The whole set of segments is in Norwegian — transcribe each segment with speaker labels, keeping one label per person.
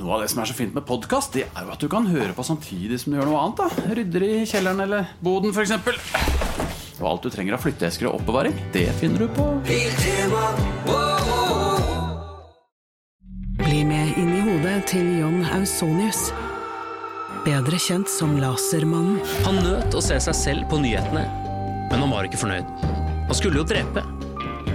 Speaker 1: Noe av det som er så fint med podkast, det er jo at du kan høre på samtidig som du gjør noe annet. da Rydder i kjelleren eller boden, f.eks. Og alt du trenger av flytteesker og oppbevaring, det finner du på
Speaker 2: Bli med inn i hodet til John Ausonius. Bedre kjent som Lasermannen.
Speaker 3: Han nøt å se seg selv på nyhetene, men han var ikke fornøyd. Han skulle jo drepe.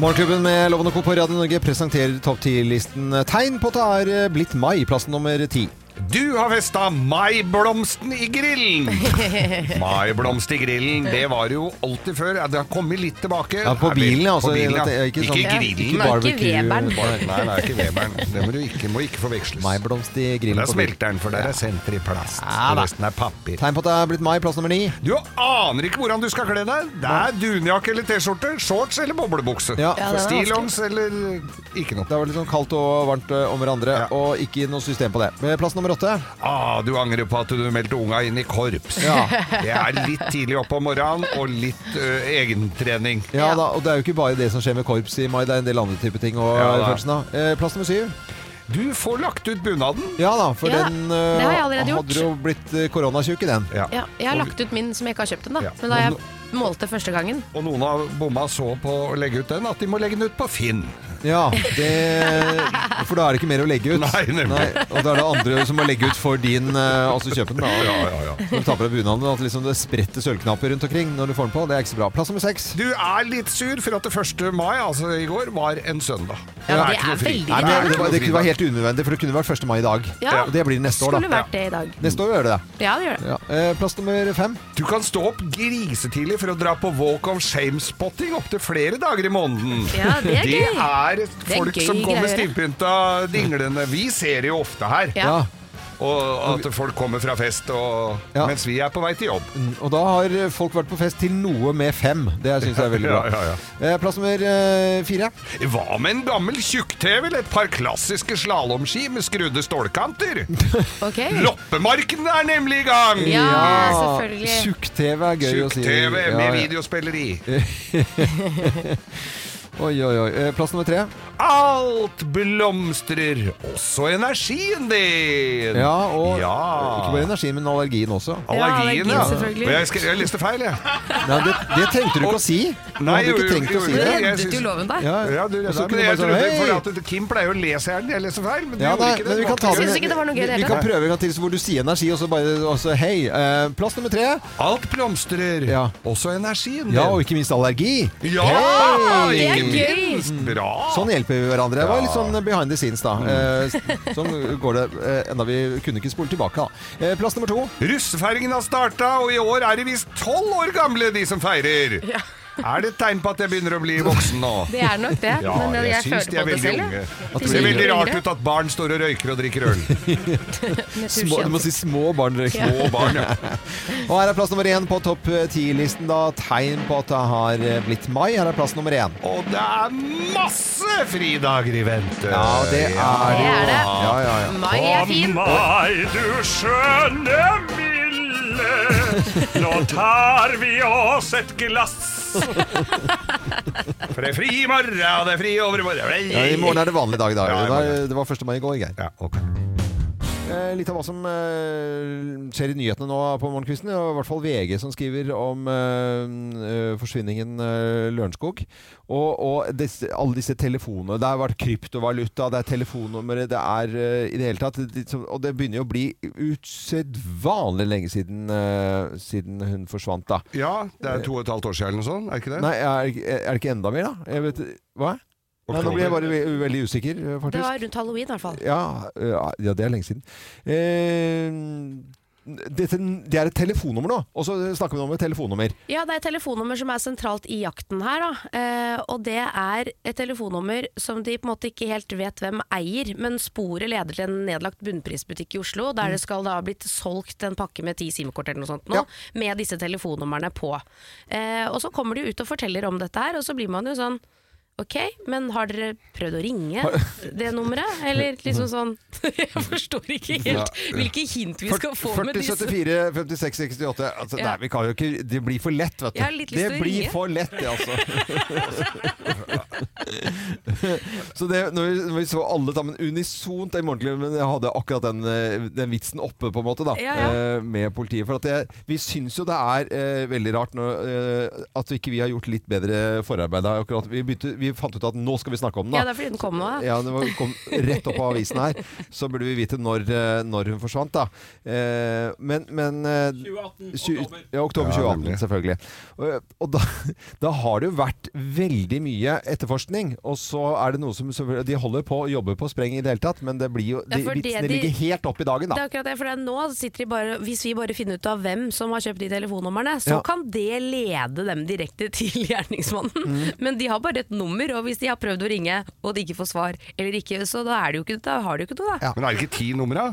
Speaker 4: Morgenklubben med Loven og Co. på Radio Norge presenterer topp 10-listen tegn på at det er eh, blitt mai, plass nummer ti.
Speaker 5: Du har festa maiblomsten i grillen! Maiblomst i grillen, det var jo alltid før. Ja, Det har kommet litt tilbake.
Speaker 4: Ja, på
Speaker 5: Er vi-
Speaker 4: bilen, altså.
Speaker 5: På bilen,
Speaker 4: Det
Speaker 5: ja.
Speaker 4: er
Speaker 5: Ikke,
Speaker 4: sånn-
Speaker 5: grillen,
Speaker 4: ikke
Speaker 5: nei.
Speaker 4: barbecue-
Speaker 6: Ikke Weberen.
Speaker 4: bar-
Speaker 5: Nei, det er ikke Weberen. Det må, du ikke, må ikke forveksles.
Speaker 4: Maiblomst i
Speaker 5: Der
Speaker 4: grillen. på bilen.
Speaker 5: smelter den, for der er senteret i plast.
Speaker 4: Ja, da.
Speaker 5: resten er papir.
Speaker 4: Tegn på at det er blitt mai, plass nummer ni.
Speaker 5: Du aner ikke hvordan du skal kle deg. Det er dunjakke eller T-skjorte, shorts eller boblebukse.
Speaker 4: Ja.
Speaker 6: Ja, det var
Speaker 5: Stillongs eller ikke noe.
Speaker 4: Det var litt sånn kaldt og varmt eh, om hverandre,
Speaker 5: Ja.
Speaker 4: og ikke noe system på det. Eh, Plass nummer åtte.
Speaker 5: Ah, du angrer på at du meldte unga inn i korps.
Speaker 4: Ja.
Speaker 5: Det er litt tidlig opp om morgenen og litt ø, egentrening.
Speaker 4: Ja, da, og det er jo ikke bare det som skjer med korps i mai, det er en del andre type ting. Og,
Speaker 5: Ja, da.
Speaker 4: følelsen av. Eh, Plass nummer syv.
Speaker 5: Du får lagt ut bunaden.
Speaker 4: Ja da, for
Speaker 6: Ja,
Speaker 4: den
Speaker 6: det har jeg allerede
Speaker 4: eh,
Speaker 6: gjort.
Speaker 4: hadde jo blitt eh, koronatjukk i den.
Speaker 5: Ja.
Speaker 6: Ja, jeg har
Speaker 5: Og-
Speaker 6: lagt ut min som jeg ikke har kjøpt ennå.
Speaker 5: Ja.
Speaker 6: Men da jeg målte første gangen
Speaker 5: Og noen av bomma så på å legge ut den at de må legge den ut på Finn.
Speaker 4: Ja, det, For da er det ikke mer å legge ut.
Speaker 5: Nei, nemlig.
Speaker 4: og da er det andre som må legge ut for din, eh, altså kjøpe den. da.
Speaker 5: Ja, ja, ja.
Speaker 4: Når du tar på deg bunaden, at liksom det spretter sølvknapper rundt omkring når du får den på. Det er ikke så bra. Plass nummer seks.
Speaker 5: Du er litt sur for at det 1. mai, altså i går, var en søndag.
Speaker 6: Ja, det
Speaker 5: ikke noe
Speaker 6: er
Speaker 5: fri.
Speaker 6: veldig
Speaker 4: Nei, men
Speaker 5: Det
Speaker 4: det,
Speaker 5: er ikke
Speaker 4: det, var,
Speaker 5: noe
Speaker 4: det
Speaker 5: fridag.
Speaker 4: var helt unødvendig, for det kunne vært 1. mai i dag.
Speaker 6: Ja.
Speaker 4: Og det blir det neste år,
Speaker 6: skulle
Speaker 4: da.
Speaker 6: vært det i dag.
Speaker 4: Neste år gjør det det.
Speaker 6: Ja, det gjør det.
Speaker 4: Ja. Eh, plass nummer fem.
Speaker 5: Du kan stå opp grisetidlig for å dra på walk of shame-spotting opptil flere dager i måneden.
Speaker 6: Ja, det er
Speaker 5: det
Speaker 6: gøy.
Speaker 5: er
Speaker 6: er
Speaker 5: folk
Speaker 6: gøy
Speaker 5: som kommer
Speaker 6: greier.
Speaker 5: stivpynta dinglende. Vi ser det jo ofte her.
Speaker 6: Ja.
Speaker 4: Ja.
Speaker 5: Og at folk kommer fra fest og,
Speaker 4: Ja.
Speaker 5: mens vi er på vei til jobb.
Speaker 4: Og da har folk vært på fest til noe med fem. Det syns jeg er veldig bra.
Speaker 5: Ja, ja,
Speaker 4: Eh, plass nummer eh, fire.
Speaker 5: Hva med en gammel tjukk-TV eller et par klassiske slalåmski med skrudde stålkanter?
Speaker 6: Ok.
Speaker 5: Loppemarken er nemlig i gang!
Speaker 6: Ja, selvfølgelig.
Speaker 4: Tjukk-TV er gøy å si.
Speaker 5: Tjukk-TV med
Speaker 4: Ja, ja.
Speaker 5: videospilleri.
Speaker 4: Oi, oi, oi. Eh, plass nummer tre.
Speaker 5: Alt blomstrer, også energien din!
Speaker 4: Ja, og
Speaker 5: Ja.
Speaker 4: ikke bare energien, men allergien også.
Speaker 5: Allergien,
Speaker 6: allergien,
Speaker 5: ja.
Speaker 6: selvfølgelig.
Speaker 5: Og jeg, skre- jeg leste feil, jeg.
Speaker 4: Nei, det, det trengte du ikke å si. Du
Speaker 5: Nei,
Speaker 4: hadde
Speaker 5: jo,
Speaker 4: ikke
Speaker 5: jo,
Speaker 4: trengt
Speaker 5: jo,
Speaker 4: å si
Speaker 5: jo.
Speaker 6: Du
Speaker 4: det.
Speaker 5: jeg
Speaker 6: reddet
Speaker 5: synes-
Speaker 6: jo loven der.
Speaker 4: Ja,
Speaker 5: Ja, du
Speaker 4: og
Speaker 5: redda
Speaker 4: så
Speaker 5: men
Speaker 4: kunne
Speaker 5: jeg
Speaker 4: man
Speaker 5: trodde,
Speaker 4: sånn,
Speaker 5: for
Speaker 4: «Hei!»
Speaker 5: at Kim pleier å le seg i hjel. Jeg leste feil, men du
Speaker 4: Ja,
Speaker 5: gjorde
Speaker 4: nei,
Speaker 5: ikke det.
Speaker 4: men vi kan ta
Speaker 6: Jeg
Speaker 4: den
Speaker 6: synes ikke det var noe gøy,
Speaker 4: Vi
Speaker 6: dette.
Speaker 4: kan prøve en gang til så hvor du sier energi, og så bare og så hei. Eh, plass nummer tre.
Speaker 5: Alt blomstrer,
Speaker 4: Ja.
Speaker 5: også energien din.
Speaker 4: Ja, og ikke minst allergi.
Speaker 5: Ja,
Speaker 4: Hei!
Speaker 5: ikke
Speaker 6: Det er gøy.
Speaker 5: minst. Bra!
Speaker 4: Sånn hjelper vi hverandre. Det var litt sånn behind the scenes, da. Eh, s- sånn går det eh, enda vi kunne ikke spole tilbake, da. Eh, plass nummer to.
Speaker 5: Russefeiringen har starta, og i år er det visst tolv år gamle, de som feirer. Er det et tegn på at jeg begynner å bli voksen nå?
Speaker 6: Det er nok det.
Speaker 5: Ja,
Speaker 6: men eh, jeg,
Speaker 5: jeg syns
Speaker 6: føler
Speaker 5: de er
Speaker 6: på det
Speaker 5: veldig
Speaker 6: selv.
Speaker 5: unge.
Speaker 6: ja.
Speaker 5: Det
Speaker 6: De
Speaker 5: ser
Speaker 6: blir
Speaker 5: veldig
Speaker 6: yngre.
Speaker 5: rart ut at barn står og røyker og drikker øl.
Speaker 6: Med sushi,
Speaker 4: Små, du
Speaker 6: altså.
Speaker 4: må si små barn. Røyk.
Speaker 5: Små barn, ja.
Speaker 4: Og her er plass nummer én på topp eh, ti-listen, da. Tegn på at det har eh, blitt mai. Her er plass nummer én.
Speaker 5: Og det er masse fridager i vente.
Speaker 4: Ja, det er Mm.
Speaker 6: Det
Speaker 4: det.
Speaker 6: er det.
Speaker 4: Ja, ja, ja.
Speaker 6: Mai er fin.
Speaker 7: Mai, du skjønne milde, nå tar vi oss et glass.
Speaker 5: For det er fri i morgen, og det er fri over i morgen.
Speaker 4: Ja, I morgen er det vanlig dag i dag.
Speaker 5: Ja, i
Speaker 4: Det var,
Speaker 5: morgen.
Speaker 4: det var 1. mai i går, Geir.
Speaker 5: Ja, ok.
Speaker 4: Eh, litt av hva som eh, skjer i nyhetene nå på morgenkvisten. og I hvert fall VG som skriver om eh, eh, forsvinningen eh, Lørenskog. Og, og disse, alle disse telefonene. Det har vært kryptovaluta, det er telefonnummeret, det er eh, i det hele tatt litt som- Og det begynner jo å bli usedvanlig lenge siden, eh, siden hun forsvant, da.
Speaker 5: Ja, det er to og et halvt år siden eller noe sånt, er ikke det?
Speaker 4: Nei, er, er det ikke enda mer, da? Jeg vet, hva? Nei, nå blir jeg bare ve veldig usikker, eh,
Speaker 8: Det
Speaker 4: faktisk.
Speaker 8: var rundt halloween i hvert fall.
Speaker 4: Ja, eh, ja, det er lenge siden. Eh, dette, det er et telefonnummer nå, og så snakker vi nå om et telefonnummer.
Speaker 8: Ja, det er et telefonnummer som er sentralt i jakten her, da. Eh, og det er et telefonnummer som de på en måte ikke helt vet hvem eier, men sporet leder til en nedlagt bunnprisbutikk i Oslo, der det skal da ha blitt solgt en pakke med ti SIM-kort eller noe sånt nå,
Speaker 4: Ja.
Speaker 8: med disse telefonnumrene på. Eh, og så kommer de ut og forteller om dette her, og så blir man jo sånn Ok, men har dere prøvd å ringe det nummeret? Eller liksom sånn Jeg forstår ikke helt hvilke hint vi skal få
Speaker 4: 40,
Speaker 8: med disse.
Speaker 4: 74, 56, 68 altså,
Speaker 8: Ja.
Speaker 4: Nei, vi kan jo ikke Det blir for lett, vet du.
Speaker 8: Jeg har litt lyst
Speaker 4: det
Speaker 8: til å
Speaker 4: blir
Speaker 8: ringe.
Speaker 4: for lett, det, altså. så det, når vi, når vi så alle sammen unisont i morgenklubben Jeg hadde akkurat den, eh, den vitsen oppe, på en måte, da,
Speaker 8: Ja, ja.
Speaker 4: eh, med politiet. For at det, vi syns jo det er eh, veldig rart når, eh, at ikke vi har gjort litt bedre forarbeid her. akkurat. Vi, begynte, vi fant ut at nå skal vi snakke om den, da.
Speaker 8: Ja, det er fordi den kom nå.
Speaker 4: Ja,
Speaker 8: Ja.
Speaker 4: det var, kom rett opp av avisen her. Så burde vi vite når, eh, når hun forsvant, da. Eh, men men eh,
Speaker 1: 2018,
Speaker 4: tju-
Speaker 1: oktober.
Speaker 4: Ja, oktober
Speaker 5: Ja,
Speaker 4: 2018,
Speaker 5: nemlig.
Speaker 4: selvfølgelig. Og, og da, da har det jo vært veldig mye etterforskning. Og så er det noe som selvfølgelig- De holder på å jobbe på spreng i det hele tatt, men det blir jo,
Speaker 8: Ja,
Speaker 4: de,
Speaker 8: for det
Speaker 4: vitsene
Speaker 8: de-
Speaker 4: ligger helt opp i dagen,
Speaker 8: Det
Speaker 4: da.
Speaker 8: er akkurat det, for det er nå sitter de bare Hvis vi bare finner ut av hvem som har kjøpt de telefonnumrene, så
Speaker 4: Ja.
Speaker 8: kan det lede dem direkte til gjerningsmannen. Men de har bare et nummer, og hvis de har prøvd å ringe og de ikke får svar, eller ikke, så da, er det jo ikke, da har de jo ikke noe, da.
Speaker 4: Ja.
Speaker 5: Men er det ikke ti numre?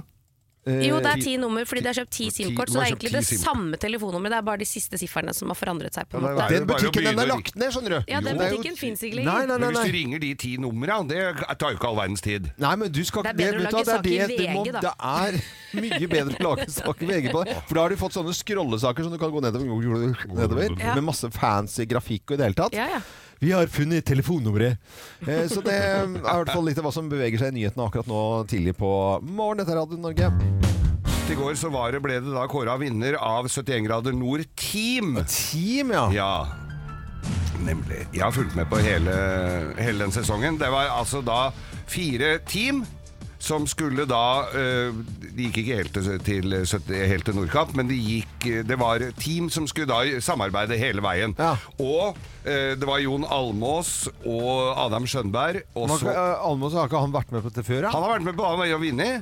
Speaker 4: Eh,
Speaker 8: Jo, det er ti nummer fordi de har kjøpt ti
Speaker 5: ti-
Speaker 8: SIM-kort,
Speaker 5: de
Speaker 8: så
Speaker 5: har
Speaker 8: det er
Speaker 5: kjøpt
Speaker 8: egentlig
Speaker 5: ti
Speaker 8: det
Speaker 5: SIM-kort.
Speaker 8: samme telefonnummeret, det er bare de siste sifrene som har forandret seg. på
Speaker 5: Ja, det
Speaker 8: en
Speaker 5: er
Speaker 8: måte.
Speaker 5: det.
Speaker 4: Den
Speaker 5: bare å
Speaker 4: butikken den er
Speaker 5: begynne å
Speaker 4: lagt ned, skjønner du.
Speaker 8: Ja, den
Speaker 4: Det er jo-
Speaker 8: butikken finnes ikke lenger.
Speaker 4: Nei, nei,
Speaker 5: Men
Speaker 4: nei,
Speaker 5: hvis du
Speaker 4: nei.
Speaker 5: ringer de ti numra, det tar jo ikke all verdens tid.
Speaker 4: Nei, men du skal
Speaker 8: Det er
Speaker 4: det-
Speaker 8: bedre å
Speaker 4: vet du hva, det
Speaker 8: lage
Speaker 4: er
Speaker 8: sak i
Speaker 4: det- det må-
Speaker 8: VG, da.
Speaker 4: Det er mye bedre å lage sak i VG på det. For da har de fått sånne scrollesaker som du kan gå nedover, nedover
Speaker 8: Ja.
Speaker 4: med masse fancy grafikk og i det hele tatt.
Speaker 8: Ja, ja.
Speaker 4: Vi har funnet telefonnummeret! Eh, så det er i hvert fall litt av hva som beveger seg i nyhetene akkurat nå tidlig på morgen. Dette er Radio Norge.
Speaker 5: I går så var det, ble det da kåra vinner av 71 grader nord Team.
Speaker 4: Team, ja.
Speaker 5: Ja, nemlig. Jeg har fulgt med på hele, hele den sesongen. Det var altså da fire team som skulle da eh, De gikk ikke helt til, til, sytti- helt til Nordkapp, men de gikk, eh, det var team som skulle da samarbeide hele veien.
Speaker 4: Ja.
Speaker 5: Og eh, det var Jon Almås og Adam Skjønberg. Og
Speaker 4: Man,
Speaker 5: så-
Speaker 4: kan- eh, Almås har ikke han vært med på dette før? Ja?
Speaker 5: han har vært med på Anna og Vinni.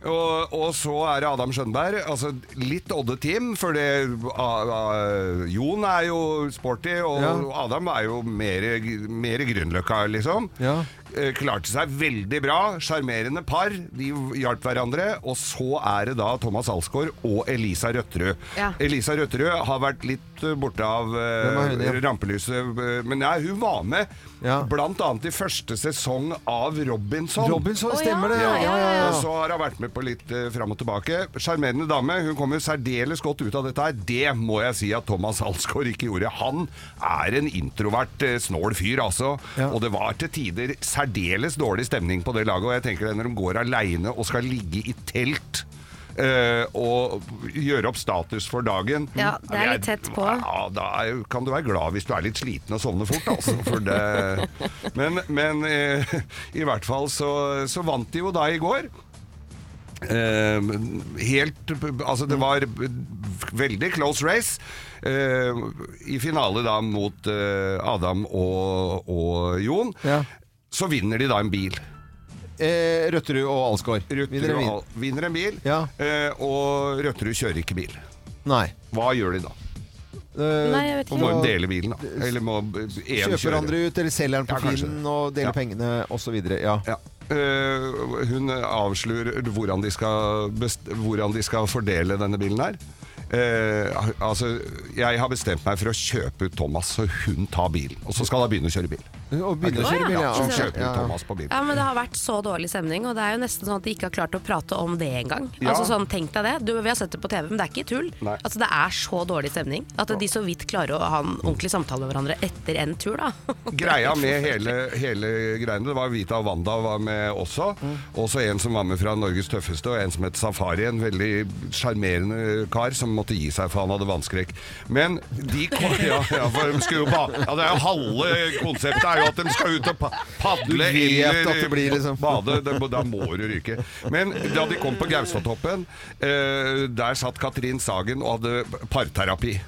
Speaker 5: Og, og så er det Adam Skjønberg. Altså litt odde team, for det, a- a- Jon er jo sporty, og
Speaker 4: Ja.
Speaker 5: Adam er jo mer, mer Grünerløkka, liksom.
Speaker 4: Ja.
Speaker 5: Eh, Klarte seg veldig bra. Sjarmerende par. De hjalp hverandre. Og så er det da Thomas Alsgaard og Elisa Røtterud.
Speaker 8: Ja.
Speaker 5: Elisa Røtterud har vært litt eh, borte av
Speaker 4: Hvem er hun
Speaker 5: eh,
Speaker 4: igjen?
Speaker 5: rampelyset, eh, men nei, hun var med
Speaker 4: Ja.
Speaker 5: blant annet i første sesong av Robinson.
Speaker 4: Robinson,
Speaker 8: Å, ja,
Speaker 4: stemmer det! Ja, ja, ja,
Speaker 5: Og så har hun vært med på litt eh, fram og tilbake. Sjarmerende dame. Hun kom jo særdeles godt ut av dette her. Det må jeg si at Thomas Alsgaard ikke gjorde. Han er en introvert, eh, snål fyr, altså.
Speaker 4: Ja.
Speaker 5: Og det var til tider særdeles dårlig stemning på det laget. Og jeg tenker det når de går aleine og skal ligge i telt eh, og gjøre opp status for dagen.
Speaker 8: Ja, det er litt tett på.
Speaker 5: Ja, da er, kan du være glad hvis du er litt sliten og sovner fort, altså. For det. Men, men eh, i hvert fall så, så vant de jo da i går. Eh, helt Altså, det var veldig close race. eh, I finale da mot eh, Adam og, og Jon.
Speaker 4: Ja.
Speaker 5: Så vinner de da en bil.
Speaker 4: Eh, Røtterud og Alsgaard. Vinner
Speaker 5: Røtterud
Speaker 4: og
Speaker 5: og- vinner en bil,
Speaker 4: Ja.
Speaker 5: eh, og Røtterud kjører ikke bil.
Speaker 4: Nei.
Speaker 5: Hva gjør de da?
Speaker 4: Eh,
Speaker 8: Nei, jeg vet
Speaker 5: Og
Speaker 8: ikke.
Speaker 5: må jo
Speaker 4: Og-
Speaker 5: dele bilen, da. Eller må én
Speaker 4: Kjøper
Speaker 5: kjøre.
Speaker 4: hverandre ut, eller selger den på
Speaker 5: Ja, kanskje
Speaker 4: Finn
Speaker 5: det.
Speaker 4: og deler
Speaker 5: Ja.
Speaker 4: pengene osv. Ja.
Speaker 5: Ja. Eh, hun avslører hvordan de, skal best hvordan de skal fordele denne bilen her. Eh, altså, jeg har bestemt meg for å kjøpe ut Thomas, så hun tar bilen. Og så skal hun begynne å kjøre bil.
Speaker 4: Og begynner å
Speaker 8: Å,
Speaker 4: kjøre
Speaker 8: ja.
Speaker 4: bil, ja.
Speaker 5: Så
Speaker 4: Ok,
Speaker 5: kjøper
Speaker 4: ja.
Speaker 5: hun Thomas på bil.
Speaker 8: Ja, men Det har vært så dårlig stemning, og det er jo nesten sånn at de ikke har klart å prate om det engang.
Speaker 5: Ja.
Speaker 8: Altså sånn, tenk deg det. Du, vi har sett det på TV, men det er ikke tull.
Speaker 5: Nei.
Speaker 8: Altså Det er så dårlig stemning at de så vidt klarer å ha en ordentlig samtale med hverandre etter en tur, da.
Speaker 5: Greia med hele, hele greiene Det var Vita og Wanda var med også. Også en som var med fra Norges tøffeste, og en som het Safari. En veldig sjarmerende kar som måtte gi seg, for han hadde vannskrekk. Men de kom, ja, ja, for de skulle jo pa, ja, det er jo halve konseptet er jo at de skal ut og pa, padle
Speaker 4: Du vet at det blir liksom-
Speaker 5: bade. Da, da må du ryke. Men da de kom på Gaustatoppen, eh, der satt Katrin Sagen og hadde parterapi.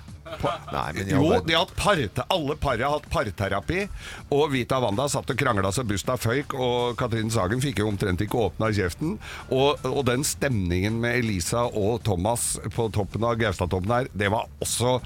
Speaker 4: Nei, men i all
Speaker 5: Jo,
Speaker 4: verden.
Speaker 5: de har hatt parte, alle paret har hatt parterapi. Og Vita Wanda satt og krangla så busta føyk, og Katrin Sagen fikk jo omtrent ikke åpna kjeften. Og, og den stemningen med Elisa og Thomas på toppen av Gaustatoppen her, det var også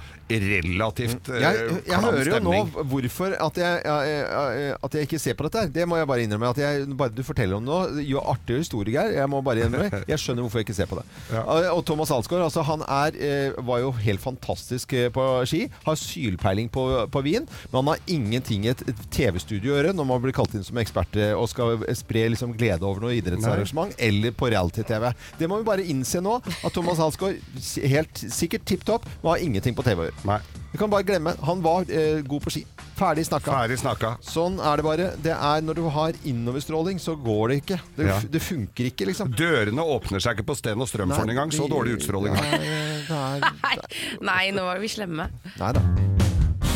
Speaker 5: relativt eh,
Speaker 4: jeg, jeg
Speaker 5: klam
Speaker 4: hører jo nå
Speaker 5: stemning.
Speaker 4: hvorfor at jeg, jeg, jeg, eh, at jeg ikke ser på dette her. Det må jeg bare innrømme. At jeg, bare du forteller om det nå, jo artigere historie, Geir. Jeg må bare innrømme. Jeg skjønner hvorfor jeg ikke ser på det. Og Thomas Alsgaard altså, han er, eh, var jo helt fantastisk eh, på ski. Har sylpeiling på, på vin, men han har ingenting i et et TV-studio å gjøre når man blir kalt inn som ekspert eh, og skal spre liksom, glede over noe idrettsarrangement eller på reality-TV. Det må vi bare innse nå, at Thomas Alsgaard s- helt sikkert tipp topp, men har ingenting på TV å gjøre.
Speaker 5: Nei,
Speaker 4: Du kan bare glemme. Han var eh, god på ski. Ferdig snakka.
Speaker 5: ferdig snakka.
Speaker 4: Sånn er det bare. Det er Når du har innoverstråling, så går det ikke. Det,
Speaker 5: Ja.
Speaker 4: det funker ikke, liksom.
Speaker 5: Dørene åpner seg ikke på Sten og Strøm for den engang, så dårlig utstråling.
Speaker 4: Det er- det er-
Speaker 8: Nei, nei, nå var vi slemme.
Speaker 4: Nei da.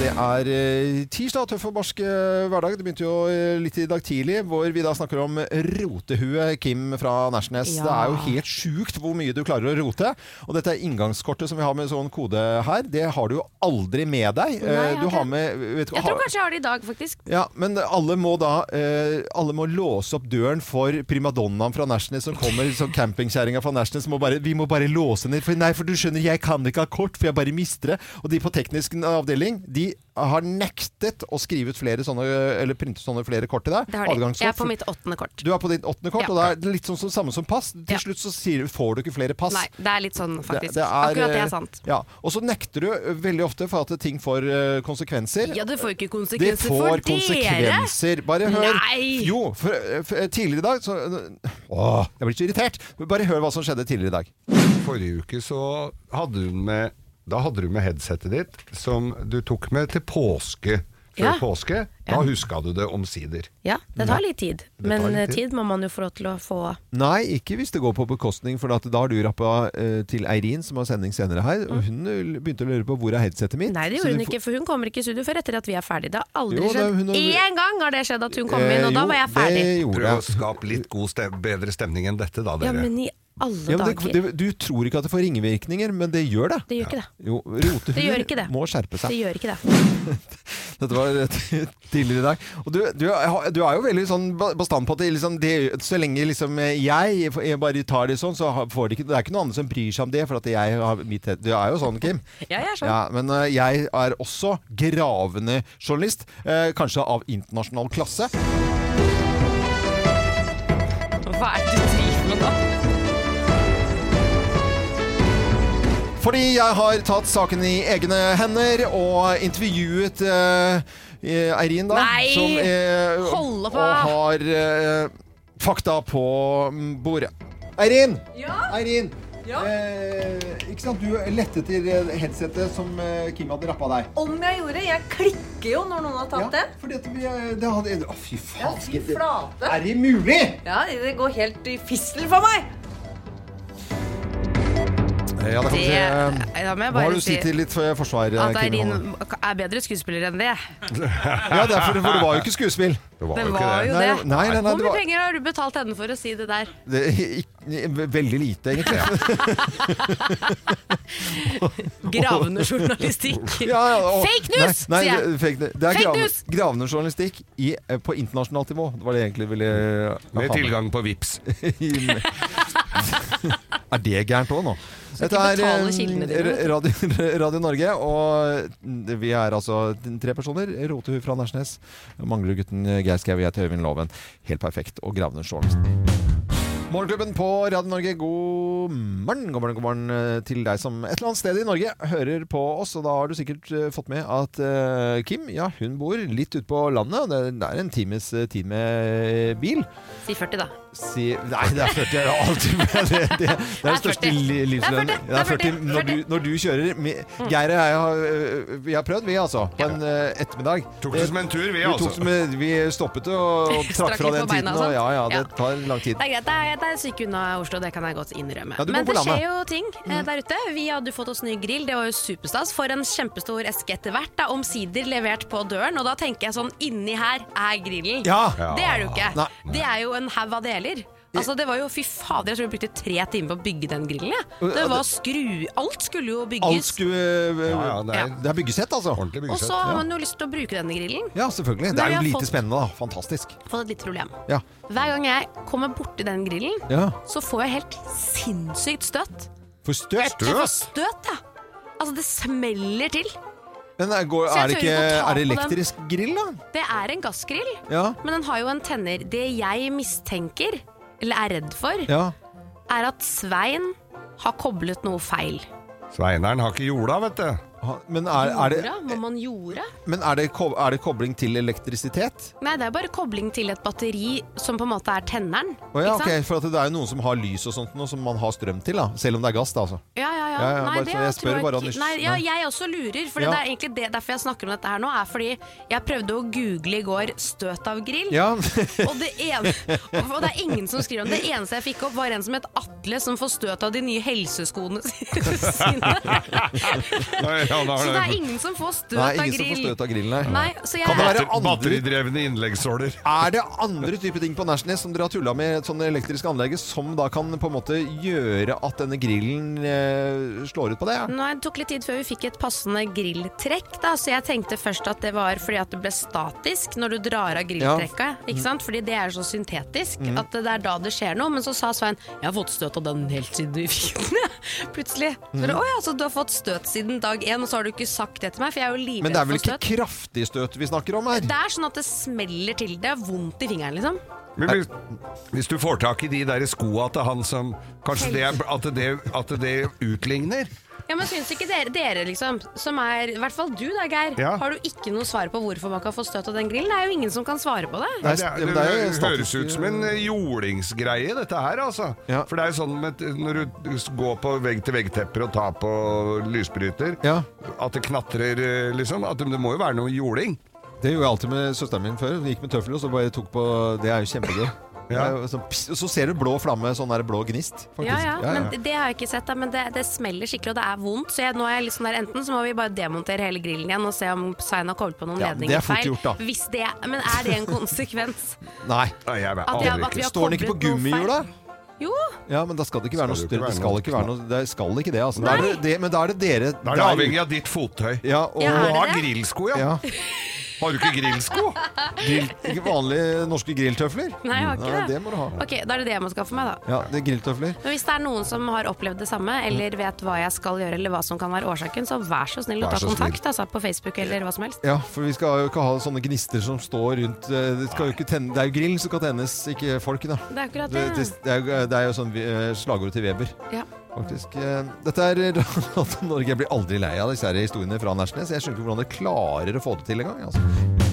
Speaker 4: Det er eh, tirsdag, tøff og barsk eh, hverdag. Det begynte jo eh, litt i dag tidlig, hvor vi da snakker om rotehue Kim fra Nesjnes.
Speaker 8: Ja.
Speaker 4: Det er jo helt sjukt hvor mye du klarer å rote. Og dette er inngangskortet som vi har med sånn kode her. Det har du jo aldri med deg. Eh,
Speaker 8: Nei, jeg har
Speaker 4: du
Speaker 8: ikke
Speaker 4: har med vet,
Speaker 8: Jeg
Speaker 4: har-
Speaker 8: tror kanskje jeg har det i dag, faktisk.
Speaker 4: Ja, men alle må da eh, Alle må låse opp døren for primadonnaen fra Nashnes som kommer, som campingkjerringa fra Nashnes. Må bare, vi må bare låse ned. For, nei, for du skjønner, jeg kan ikke ha kort, for jeg bare mister det. Og de på teknisk avdeling, de har nektet å skrive ut flere sånne, eller printe sånne flere kort til deg.
Speaker 8: Det har de.
Speaker 4: Adgangskort.
Speaker 8: Jeg er på mitt åttende kort.
Speaker 4: Du er på ditt åttende kort,
Speaker 8: Ja.
Speaker 4: og det er litt sånn som samme som pass. Til
Speaker 8: Ja.
Speaker 4: slutt så sier, du- får du ikke flere pass.
Speaker 8: Nei, det er litt sånn, faktisk.
Speaker 4: Det- det er,
Speaker 8: Akkurat det
Speaker 4: eh,
Speaker 8: er sant.
Speaker 4: Ja. Og så nekter du eh, veldig ofte for at ting får eh, konsekvenser.
Speaker 8: Ja, det får ikke
Speaker 4: Det
Speaker 8: konsekvenser for
Speaker 4: får
Speaker 8: dere!
Speaker 4: konsekvenser. Bare hør.
Speaker 8: Nei!
Speaker 4: Jo, for, for, eh, tidligere i dag så eh, Åh, jeg blir så irritert. Bare hør hva som skjedde tidligere i dag.
Speaker 5: Forrige uke så hadde hun med Da hadde du med headsetet ditt, som du tok med til påske. Før
Speaker 8: Ja.
Speaker 5: påske. Da huska du det omsider.
Speaker 8: Ja, det tar litt tid.
Speaker 5: tar
Speaker 8: Men
Speaker 5: litt
Speaker 8: eh,
Speaker 5: tid.
Speaker 8: tid må man jo få lov til å få
Speaker 4: Nei, ikke hvis det går på bekostning, for at da har du rappa eh, til Eirin, som har sending senere her. og Hun eh, begynte å lure på hvor er headsetet mitt.
Speaker 8: Mm. Nei, det
Speaker 4: Så
Speaker 8: gjorde
Speaker 4: du
Speaker 8: hun
Speaker 4: får-
Speaker 8: ikke, for hun kommer ikke i studio før etter at vi er ferdig. Det har aldri
Speaker 4: Jo, det-
Speaker 8: skjedd.
Speaker 4: hun har-
Speaker 8: Én gang har det skjedd at hun kom inn,
Speaker 4: Eh,
Speaker 8: og da
Speaker 4: jo,
Speaker 8: var jeg ferdig.
Speaker 4: Det
Speaker 5: Prøv
Speaker 4: gjorde
Speaker 5: å
Speaker 4: jeg.
Speaker 5: skape litt god ste bedre stemning enn dette, da, dere.
Speaker 8: Ja, men i alle
Speaker 4: Ja, men det,
Speaker 8: dager.
Speaker 4: det, du tror ikke at det får ringvirkninger, men det gjør det.
Speaker 8: Det gjør ikke det.
Speaker 4: Jo, rotehuer
Speaker 8: Det gjør ikke det.
Speaker 4: må skjerpe seg.
Speaker 8: Det gjør ikke det.
Speaker 4: Dette var tidligere i dag. Og du, du, er- du er jo veldig sånn ba- bastant på at det, liksom, det, så lenge liksom jeg, jeg bare tar det sånn, så har- får det ikke Det er ikke noen andre som bryr seg om det, for at jeg har mitt het- Du er jo sånn, Kim.
Speaker 8: Ja, jeg er sånn.
Speaker 4: Ja, men eh, jeg er også gravende journalist. eh, Kanskje av internasjonal klasse.
Speaker 8: Hva er det du driver med nå?
Speaker 4: Fordi jeg har tatt saken i egne hender og intervjuet eh, eh, Eirin, da.
Speaker 8: Nei!
Speaker 4: Som, eh,
Speaker 8: Hold opp,
Speaker 4: Og
Speaker 8: da!
Speaker 4: har eh, fakta på mm, bordet. Eirin! Eirin! Eh, ikke sant, Du lette etter eh, headsetet som eh, Kim hadde rappa deg.
Speaker 9: Om jeg gjorde? Jeg klikker jo når noen har tatt den.
Speaker 4: fordi at vi, eh, det hadde Å, fy
Speaker 9: Ja,
Speaker 4: faen!
Speaker 9: fy flate.
Speaker 4: Er det mulig?!
Speaker 9: Ja, det går helt i fissel for meg.
Speaker 4: Eh, Ja, det kan du si. eh,
Speaker 8: Det da må jeg
Speaker 4: Hva har
Speaker 8: bare
Speaker 4: du å si til litt eh, forsvar, eh,
Speaker 8: at
Speaker 4: Kim?
Speaker 8: Eirin
Speaker 4: Johanne?
Speaker 8: er bedre skuespiller enn det.
Speaker 4: Ja, det er for, for det var jo ikke skuespill.
Speaker 5: Det var
Speaker 8: Det
Speaker 5: jo ikke
Speaker 8: var
Speaker 5: det.
Speaker 8: jo
Speaker 4: Nei,
Speaker 8: det.
Speaker 4: nei, nei, nei,
Speaker 8: Hvor
Speaker 4: det
Speaker 8: mye
Speaker 4: var-
Speaker 8: penger har du betalt henne for å si det der?
Speaker 4: Det, ikke, veldig lite, egentlig.
Speaker 8: Gravende journalistikk.
Speaker 4: Ja, ja, og-
Speaker 8: Fake news,
Speaker 4: Nei, nei,
Speaker 8: sier jeg.
Speaker 4: det- Fake, news. det er
Speaker 8: Fake
Speaker 4: grav,
Speaker 8: news!
Speaker 4: gravende journalistikk i, eh, på internasjonalt nivå. Det var det jeg egentlig ville eh,
Speaker 5: Med
Speaker 4: ha
Speaker 5: tilgang på VIPS.
Speaker 4: med. er det gærent òg, nå? Dette er
Speaker 8: ikke betale kildene dine,
Speaker 4: eh,
Speaker 8: vet
Speaker 4: radio, radio Norge, og vi er altså tre personer. Rotehu fra Nærsnes, Manglerudgutten Geir Skau, jeg heter Øyvind Loven. Helt perfekt. Og gravende journalist. Morgenklubben på Radio Norge, god morgen, god morgen, god morgen eh, til deg som et eller annet sted i Norge hører på oss. Og da har du sikkert eh, fått med at eh, Kim ja, hun bor litt ute på landet. og Det det er en times eh, tid med bil.
Speaker 8: Si 40, da.
Speaker 4: Si, nei, det er 40 jeg er alltid med. Det, det, det er den største
Speaker 8: 40.
Speaker 4: li- livslønnen.
Speaker 8: Det er Mm. 40,
Speaker 4: Det er 40 når du, når du kjører. med- Geir og jeg har, eh, vi har prøvd, vi altså. På en eh, ettermiddag.
Speaker 5: Tok det som en tur, vi,
Speaker 4: Vi, tok
Speaker 5: altså.
Speaker 4: som, en- vi stoppet og, og
Speaker 8: Strakk
Speaker 4: trakk fra
Speaker 8: litt
Speaker 4: den
Speaker 8: på
Speaker 4: tiden.
Speaker 8: beina og
Speaker 4: Og,
Speaker 8: sånt.
Speaker 4: ja, ja, det
Speaker 8: Ja.
Speaker 4: tar lang tid.
Speaker 8: Det er greit, det er, det er syk unna Oslo, det kan jeg godt innrømme.
Speaker 4: Ja, du bor
Speaker 8: Men
Speaker 4: på
Speaker 8: det
Speaker 4: landet. Mm.
Speaker 8: skjer jo ting eh, der ute. Vi hadde jo fått oss ny grill, det var jo superstas. For en kjempestor eske etter hvert, da, omsider levert på døren. Og da tenker jeg sånn, inni her er grillen.
Speaker 4: Ja.
Speaker 8: Det er det jo ikke.
Speaker 4: Nei.
Speaker 8: Det er jo en haug av deler. Altså, det var jo, fy fader, jeg tror vi brukte tre timer på å bygge den grillen. jeg. Det var skru... Alt skulle jo
Speaker 4: Alt
Speaker 8: bygges.
Speaker 4: skulle eh,
Speaker 5: Ja, ja, det er-
Speaker 4: Det er byggesett, altså.
Speaker 5: Ordentlig
Speaker 8: Og så
Speaker 5: byggesett.
Speaker 8: har man jo lyst til å bruke denne grillen.
Speaker 4: Ja, selvfølgelig. Det
Speaker 8: Men
Speaker 4: er
Speaker 8: vi
Speaker 4: jo
Speaker 8: har
Speaker 4: lite
Speaker 8: fått-
Speaker 4: spennende, da. Fantastisk.
Speaker 8: Fått et lite problem.
Speaker 4: Ja.
Speaker 8: Hver gang jeg kommer borti den grillen,
Speaker 4: ja.
Speaker 8: så får jeg helt sinnssykt støtt.
Speaker 4: For støt.
Speaker 8: Jeg får støt, jeg. Altså, det smeller til.
Speaker 4: Men er, går,
Speaker 8: Så jeg
Speaker 4: er, det
Speaker 8: tør
Speaker 4: ikke,
Speaker 8: ikke å ta
Speaker 4: er det
Speaker 8: på den.
Speaker 4: elektrisk grill, da?
Speaker 8: Det er en gassgrill,
Speaker 4: Ja.
Speaker 8: men den har jo en tenner. Det jeg mistenker, eller er redd for,
Speaker 4: ja.
Speaker 8: er at Svein har koblet noe feil.
Speaker 5: Sveineren har ikke jorda, vet du.
Speaker 4: Ha- Men er, er det,
Speaker 8: Jorda? Må man jorda?
Speaker 4: men er det, ko- er det kobling til elektrisitet?
Speaker 8: Nei, det er bare kobling til et batteri som på en måte er tenneren.
Speaker 4: Å ja,
Speaker 8: ikke sant?
Speaker 4: ok, for at det er jo noen som har lys og sånt nå, som man har strøm til, da. Selv om det er gass, da, altså.
Speaker 8: Ja, ja, ja.
Speaker 4: Ja, ja,
Speaker 8: Nei,
Speaker 4: bare
Speaker 8: det
Speaker 4: så jeg
Speaker 8: tror
Speaker 4: spør bare av
Speaker 8: ikke-
Speaker 4: nysg-
Speaker 8: Nei, ja,
Speaker 4: Nei.
Speaker 8: jeg også lurer, for
Speaker 4: Ja.
Speaker 8: det er egentlig det, derfor jeg snakker om dette her nå, er fordi jeg prøvde å google i går 'støt av grill',
Speaker 4: Ja.
Speaker 8: og, det en, og det er ingen som skriver om det. Det eneste jeg fikk opp, var en som het Atle, som får støt av de nye helseskoene sine.
Speaker 5: Nei, ja, da
Speaker 8: Så det er
Speaker 5: er det
Speaker 8: ingen som får støt
Speaker 4: Nei,
Speaker 8: av
Speaker 4: ingen som får
Speaker 8: grill.
Speaker 4: støt av grillen, nei.
Speaker 8: Nei, så jeg
Speaker 4: Kan det være-
Speaker 8: er,
Speaker 5: batter-
Speaker 4: andre-
Speaker 5: batteridrevne innleggssåler.
Speaker 4: Er det andre typer ting på Nesjnes som dere har tulla med sånne elektriske anlegg, som da kan på en måte gjøre at denne grillen eh, slår ut på det? Ja?
Speaker 8: Nei, det tok litt tid før vi fikk et passende grilltrekk, da, så jeg tenkte først at det var fordi at det ble statisk når du drar av grilltrekket. Ikke sant? Fordi det er så syntetisk
Speaker 4: Mm.
Speaker 8: at det er da det skjer noe. Men så sa Svein jeg har fått støt av den helt siden vi fikk den. jeg». Plutselig.
Speaker 4: Mm.
Speaker 8: Så bare, Å ja, så du har fått støt siden dag én, og så har du ikke sagt det til meg, for jeg er jo
Speaker 4: Men det
Speaker 8: livredd
Speaker 4: er vel
Speaker 8: for
Speaker 4: ikke
Speaker 8: støt.
Speaker 4: kraftig støt vi snakker om her?
Speaker 8: Det er sånn at det smeller til. Det er vondt i fingeren, liksom.
Speaker 5: Men hvis, hvis du får tak i de der skoa til han som Kanskje det, er- at det, at det utligner?
Speaker 8: Ja, men syns ikke dere, dere liksom, som er I hvert fall du da, Geir.
Speaker 5: Ja.
Speaker 8: Har du ikke noe svar på hvorfor man kan få støt av den grillen? Det er jo ingen som kan svare på det.
Speaker 4: Nei,
Speaker 5: Det,
Speaker 4: ja,
Speaker 5: er,
Speaker 4: men
Speaker 5: det,
Speaker 4: er jo
Speaker 5: høres
Speaker 4: statisk-
Speaker 5: ut som en eh, jordingsgreie, dette her, altså.
Speaker 4: Ja.
Speaker 5: For det er jo sånn med, når du går på vegg-til-vegg-tepper og tar på lysbryter,
Speaker 4: Ja.
Speaker 5: at det knatrer, liksom. At det, det må jo være noe jording.
Speaker 4: Det gjorde jeg alltid med søsteren min før. Hun gikk med tøfler og så bare tok på Det er jo kjempegøy. Det er jo sånn, pss, og så ser du blå flamme, sånn der blå gnist. Faktisk.
Speaker 8: Ja, ja, men det- det har jeg ikke sett, da, men det, det smeller skikkelig, og det er vondt. Så jeg, nå er jeg litt sånn der, enten så må vi bare demontere hele grillen igjen og se om Svein har kommet på noen
Speaker 4: Ja, det er
Speaker 8: ledninger
Speaker 4: fort
Speaker 8: feil.
Speaker 4: gjort, da.
Speaker 8: Hvis det, men er det en konsekvens?
Speaker 4: Nei.
Speaker 5: Nei, jeg vet
Speaker 8: At jeg-
Speaker 5: aldri
Speaker 8: at vi
Speaker 5: ikke.
Speaker 8: har
Speaker 4: Står den ikke på
Speaker 8: koblet noe feil.
Speaker 4: gummihjula?
Speaker 8: Jo,
Speaker 4: Ja, men da skal det ikke være noe
Speaker 5: Skal det jo
Speaker 4: større. Det
Speaker 5: ikke
Speaker 4: skal
Speaker 5: være
Speaker 4: ikke være noe Det skal ikke det, altså. Da er
Speaker 8: Nei.
Speaker 4: det, det, men da er det dere
Speaker 5: Da er det avhengig av ditt fottøy.
Speaker 4: Ja, og
Speaker 8: Ja,
Speaker 5: Du
Speaker 8: er det
Speaker 5: har
Speaker 8: det?
Speaker 5: grillsko, ja.
Speaker 4: ja,
Speaker 5: Har du ikke grillsko?
Speaker 4: grill, ikke vanlige norske grilltøfler.
Speaker 8: nei, jeg har ikke
Speaker 4: Nei,
Speaker 8: det.
Speaker 4: det må du ha.
Speaker 8: Ok, da er det det jeg må skaffe meg, da.
Speaker 4: Ja, det er grilltøfler.
Speaker 8: Men hvis det er noen som har opplevd det samme, eller vet hva jeg skal gjøre, eller hva som kan være årsaken, så vær så snill å
Speaker 5: Vær
Speaker 8: ta
Speaker 5: så snill.
Speaker 8: kontakt, altså, på Facebook eller hva som helst.
Speaker 4: Ja, for vi skal jo ikke ha sånne gnister som står rundt eh, Det, skal jo ikke tenne, det er jo grillen som skal tennes, ikke folk, da.
Speaker 8: Det er akkurat
Speaker 4: Det, det,
Speaker 8: det.
Speaker 4: det, er, jo- det er jo sånn eh, slagordet til Weber.
Speaker 8: Ja.
Speaker 4: Faktisk. Eh, Dette er Radio Norge. Jeg blir aldri lei av disse her historiene fra Nesjnes. Jeg skjønner ikke hvordan dere klarer å få det til engang. Altså.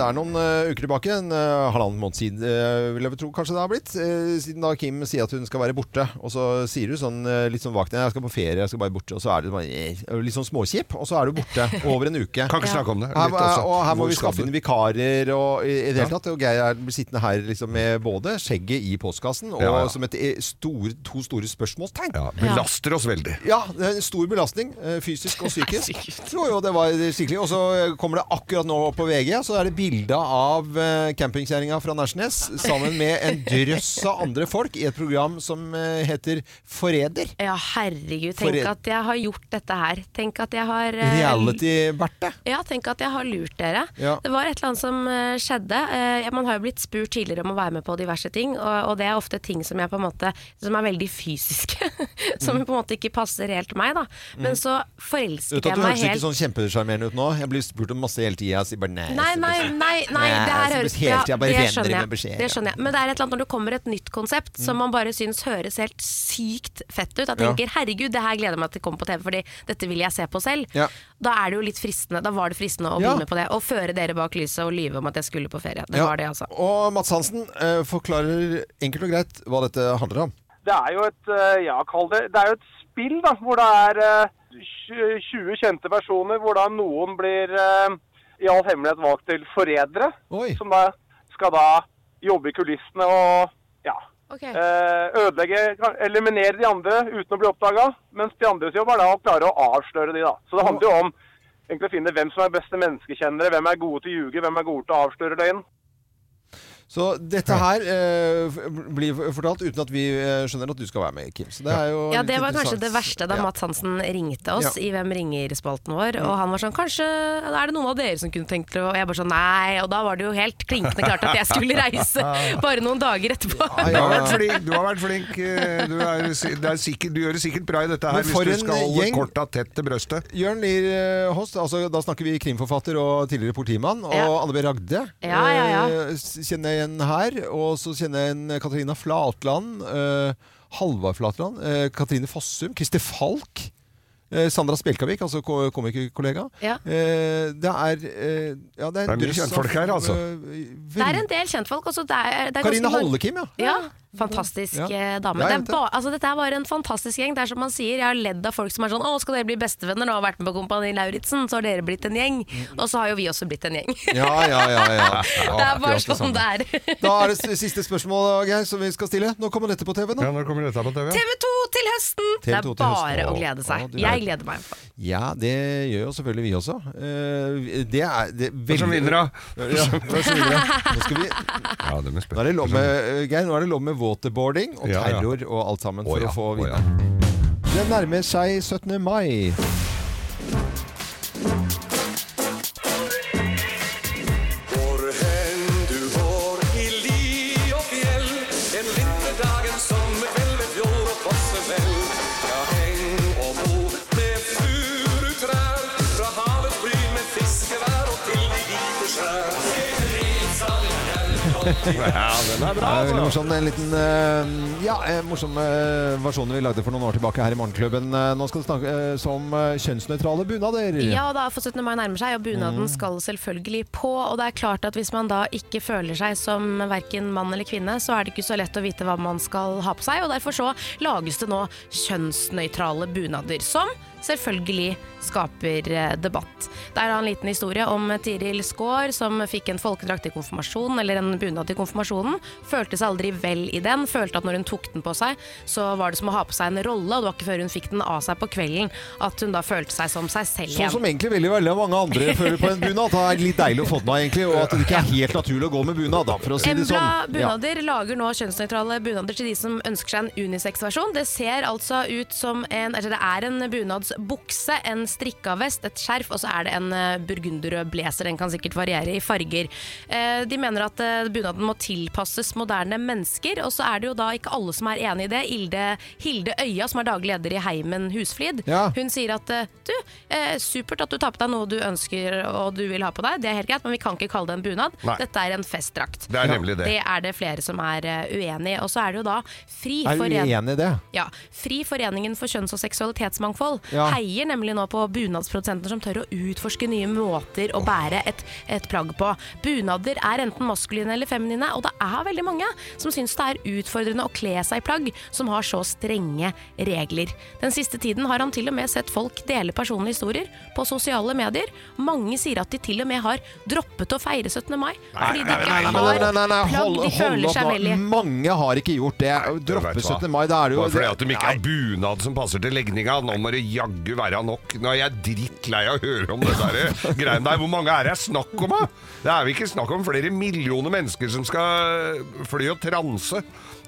Speaker 4: Det er noen eh, uker tilbake, en eh, halvannen måned siden, eh, vil jeg tro kanskje det har blitt, eh, siden da Kim sier at hun skal være borte. Og så sier hun sånn eh, litt sånn vagt «Nei, 'Jeg skal på ferie, jeg skal bare borte', og så er det bare, eh, litt sånn småkjip, og så er du borte over en uke.
Speaker 5: Kan ikke snakke om det.
Speaker 4: Her,
Speaker 5: Litt også.
Speaker 4: og her må
Speaker 5: Hvor
Speaker 4: vi
Speaker 5: skal
Speaker 4: skaffe
Speaker 5: du?
Speaker 4: inn vikarer og i, i det hele tatt. Og Geir er- blir sittende her liksom, med både skjegget i postkassen og
Speaker 5: Ja, ja.
Speaker 4: som et e- stor, to store spørsmålstegn.
Speaker 5: Ja, belaster oss veldig.
Speaker 4: Ja, det er en stor belastning, eh, fysisk og psykisk. jo, jo, det var skikkelig. Og så kommer det akkurat nå på VG, så er det bilde av eh, campingkjerringa fra Nærsnes sammen med en drøss av andre folk i et program som eh, heter Forræder.
Speaker 8: Ja, herregud.
Speaker 4: For-
Speaker 8: Tenk at jeg har gjort dette her. Tenk at jeg har eh,
Speaker 4: Reality-Berthe.
Speaker 8: Ja, tenk at jeg har lurt dere.
Speaker 4: Ja.
Speaker 8: Det var et eller annet som eh, skjedde. Eh, man har jo blitt spurt tidligere om å være med på diverse ting, og, og det er ofte ting som, jeg på en måte, som er veldig fysiske. som på en måte ikke passer helt meg, da. Men så
Speaker 4: Mm. Vet
Speaker 8: forelsket
Speaker 4: du at
Speaker 8: jeg
Speaker 4: du
Speaker 8: meg
Speaker 4: hørtes ikke
Speaker 8: helt
Speaker 4: sånn kjempesjarmerende ut nå? Jeg blir spurt om masse hele tida, jeg sier bare nei.
Speaker 8: Nei,
Speaker 4: Eh, så-
Speaker 8: nei, nei, nei
Speaker 4: Nei,
Speaker 8: det her
Speaker 4: altså,
Speaker 8: høres
Speaker 4: helt til jeg bare
Speaker 8: det
Speaker 4: renner med
Speaker 8: skjønner
Speaker 4: Mm.
Speaker 8: jeg.
Speaker 4: beskjeder.
Speaker 8: Det skjønner jeg. Men det er et eller annet når det kommer et nytt konsept som man bare syns høres helt sykt fett ut. Jeg tenker herregud, det her gleder jeg meg til å komme på TV, fordi dette vil jeg se på selv.
Speaker 4: Ja.
Speaker 8: Da er det jo litt fristende, da var det fristende å
Speaker 4: Ja.
Speaker 8: bli med på det. Og føre dere bak lyset og lyve om at jeg skulle på ferie. Det
Speaker 4: Ja,
Speaker 8: var det, altså.
Speaker 4: Og Mats Hansen eh, forklarer enkelt og greit hva dette handler om.
Speaker 10: det er jo et, eh, ja, kall det, det er jo et spill da, hvor det er eh, tj- 20 kjente personer, hvor da noen blir eh, i all hemmelighet valgt til forrædere,
Speaker 4: Oi.
Speaker 10: som da skal da jobbe i kulissene og ja, eh, ødelegge, kan- eliminere de andre uten å bli oppdaga, mens de andres jobb er da å klare å avsløre de da. Så det handler jo om egentlig å finne hvem som er beste menneskekjennere, hvem er gode til å ljuge, hvem er gode til å avsløre løgn.
Speaker 4: Så dette her eh, f- blir fortalt uten at vi eh, skjønner at du skal være med, Kim. Så det er jo
Speaker 8: Ja,
Speaker 4: litt
Speaker 8: Det var kanskje
Speaker 4: interessant.
Speaker 8: det verste da Mats Hansen ringte oss
Speaker 4: Ja. Mm.
Speaker 8: i Hvem ringer-spalten vår. Og han var sånn Kanskje er det noen av dere som kunne tenkt det? Og jeg bare sånn Nei. Og da var det jo helt klinkende klart at jeg skulle reise bare noen dager etterpå.
Speaker 5: Du har vært flink. Du, har vært flink. eh, Du, er, si- det er sikkert, du gjør det sikkert bra i dette her
Speaker 4: Men for
Speaker 5: hvis du
Speaker 4: en
Speaker 5: skal holde
Speaker 4: gjeng.
Speaker 5: korta tett til brøstet.
Speaker 4: Jørn Lier eh, Host, altså, da snakker vi krimforfatter og tidligere politimann. Og
Speaker 5: Ja.
Speaker 4: Anne B. Ragde
Speaker 5: Ja, ja, ja.
Speaker 4: eh, s- kjenner jeg igjen her. Og så kjenner jeg igjen Katarina Flatland. eh, Halvard Flatland. eh, Katrine Fossum. Christer Falk. eh, Sandra Spjelkavik, altså ko- komikerkollega.
Speaker 8: Ja.
Speaker 4: Eh, det er eh, ja, Det er,
Speaker 5: Det er mye
Speaker 4: drøss av-
Speaker 5: kjentfolk her, altså.
Speaker 4: eh,
Speaker 8: Det er en del kjentfolk. Også, det er, det er
Speaker 4: Karina
Speaker 8: ganske mange-
Speaker 4: Hallekim, ja.
Speaker 8: ja. Fantastisk
Speaker 4: Ja.
Speaker 8: eh, dame.
Speaker 4: Det er jente.
Speaker 8: Det er ba, altså, dette er bare en fantastisk gjeng. Det er som man sier, Jeg har ledd av folk som er sånn Å, skal dere bli bestevenner? Nå har jeg vært med på Kompani Lauritzen, så har dere blitt en gjeng. Og så har jo vi også blitt en gjeng.
Speaker 4: Ja, ja, ja, Mm. ja.
Speaker 8: Det er bare
Speaker 4: Akkurat det
Speaker 8: sånn
Speaker 4: samme.
Speaker 8: det er.
Speaker 4: Da er det s- siste spørsmål Geir, som vi skal stille. Nå kommer dette på TV. Nå.
Speaker 5: Ja, nå kommer dette på TV.
Speaker 8: TV 2 til høsten!
Speaker 4: TV 2
Speaker 8: Det
Speaker 4: til
Speaker 8: er
Speaker 4: høsten.
Speaker 8: bare å
Speaker 4: Å,
Speaker 8: glede seg.
Speaker 4: å, du
Speaker 8: Jeg
Speaker 4: vet.
Speaker 8: gleder meg.
Speaker 4: Ja, det gjør jo selvfølgelig vi også. Eh, Det er det er
Speaker 5: Hva som
Speaker 4: veldig-
Speaker 5: vinner, da?
Speaker 4: Ja, hva som vinner, da? Nå skal vi
Speaker 5: Ja, det
Speaker 4: Nå er det lov med, eh, Geir, nå er det lov med waterboarding og
Speaker 5: Ja, ja.
Speaker 4: terror og alt sammen for
Speaker 5: Å, ja.
Speaker 4: å få
Speaker 5: Å, ja.
Speaker 4: vinne. Det nærmer seg 17. mai.
Speaker 11: Hvor hen du går i li og fjell, en vinterdag, en sommerkveld ved fjord og fossefell. Ja, heng og bo med furutrær, fra havets bryn med fiskevær og til de hvite skjær. En risal
Speaker 5: Ja, den er bra,
Speaker 4: Det veldig
Speaker 5: altså.
Speaker 4: morsom, en liten eh, ja, eh, morsom eh, versjon vi lagde for noen år tilbake her i Morgenklubben. Eh, Nå skal det snakkes om eh, kjønnsnøytrale bunader.
Speaker 8: Ja, og da for 17. mai nærmer seg, og bunaden skal selvfølgelig på. Og det er klart at hvis man da ikke føler seg som verken mann eller kvinne, så er det ikke så lett å vite hva man skal ha på seg, og derfor så lages det nå kjønnsnøytrale bunader, som selvfølgelig skaper eh, debatt. Der har en liten historie om Tiril Skaar som fikk en folkedrakt i konfirmasjonen, eller en bunad i konfirmasjonen. Følte seg aldri vel i den, følte at når hun tok den på seg, så var det som å ha på seg en rolle, og det var ikke før hun fikk den av seg på kvelden at hun da følte seg som seg selv
Speaker 4: Sånn
Speaker 8: igjen.
Speaker 4: som egentlig veldig veldig mange andre føler på en bunad. Det er litt deilig å få den av, egentlig. Og at det ikke er helt naturlig å gå med bunad, da, for å si det
Speaker 8: Embla
Speaker 4: sånn. Ja.
Speaker 8: bunader lager nå kjønnsnøytrale bunader til de som ønsker seg en unisex-versjon. Det ser altså ut som en Eller det er en bunadsbukse, en strikka vest, et skjerf, og så er det en eh, burgunderrød blazer. Den kan sikkert variere i farger. Eh, De mener at eh, bunaden må tilpasses moderne mennesker, og så er det jo da ikke alle som er enig i det. Hilde, Hilde Øya, som er daglig leder i Heimen Husflid,
Speaker 12: Ja.
Speaker 8: hun sier at eh, du, eh, supert at du tar på deg noe du ønsker og du vil ha på deg, det er helt greit, men vi kan ikke kalle det en bunad.
Speaker 5: Nei.
Speaker 8: Dette er en festdrakt.
Speaker 5: Det er nemlig det.
Speaker 8: Det er det flere som er eh, uenig i. Og så er det jo da fri
Speaker 4: Er du
Speaker 8: foren-
Speaker 4: uenig i det?
Speaker 8: Ja. Fri Foreningen for kjønns- og seksualitetsmangfold
Speaker 4: Ja.
Speaker 8: heier nemlig nå på bunadsprodusenter som tør å utforske nye måter å bære et, et plagg på. Bunader er enten maskuline eller feminine, og det er veldig mange som syns det er utfordrende å kle seg i plagg som har så strenge regler. Den siste tiden har han til og med sett folk dele personlige historier på sosiale medier. Mange sier at de til og med har droppet å feire 17. mai fordi de
Speaker 4: Nei,
Speaker 8: ikke
Speaker 4: nei, nei,
Speaker 8: har
Speaker 4: nei, nei, nei, nei,
Speaker 8: plagg
Speaker 4: hold,
Speaker 8: de
Speaker 4: hold
Speaker 8: føler
Speaker 4: opp
Speaker 8: seg vel
Speaker 4: nå.
Speaker 8: i.
Speaker 4: Mange har ikke gjort det.
Speaker 5: Vet
Speaker 4: Droppe
Speaker 5: du hva?
Speaker 4: 17. mai, da er det jo
Speaker 5: Bare fordi at de ikke har bunad som passer til legninga. Nå må det jaggu være nok. Nå er jeg drittlei av å høre om det der eh, greiene der. Hvor mange er det snakk om, da? Det er vel ikke snakk om flere millioner mennesker som skal fly og transe.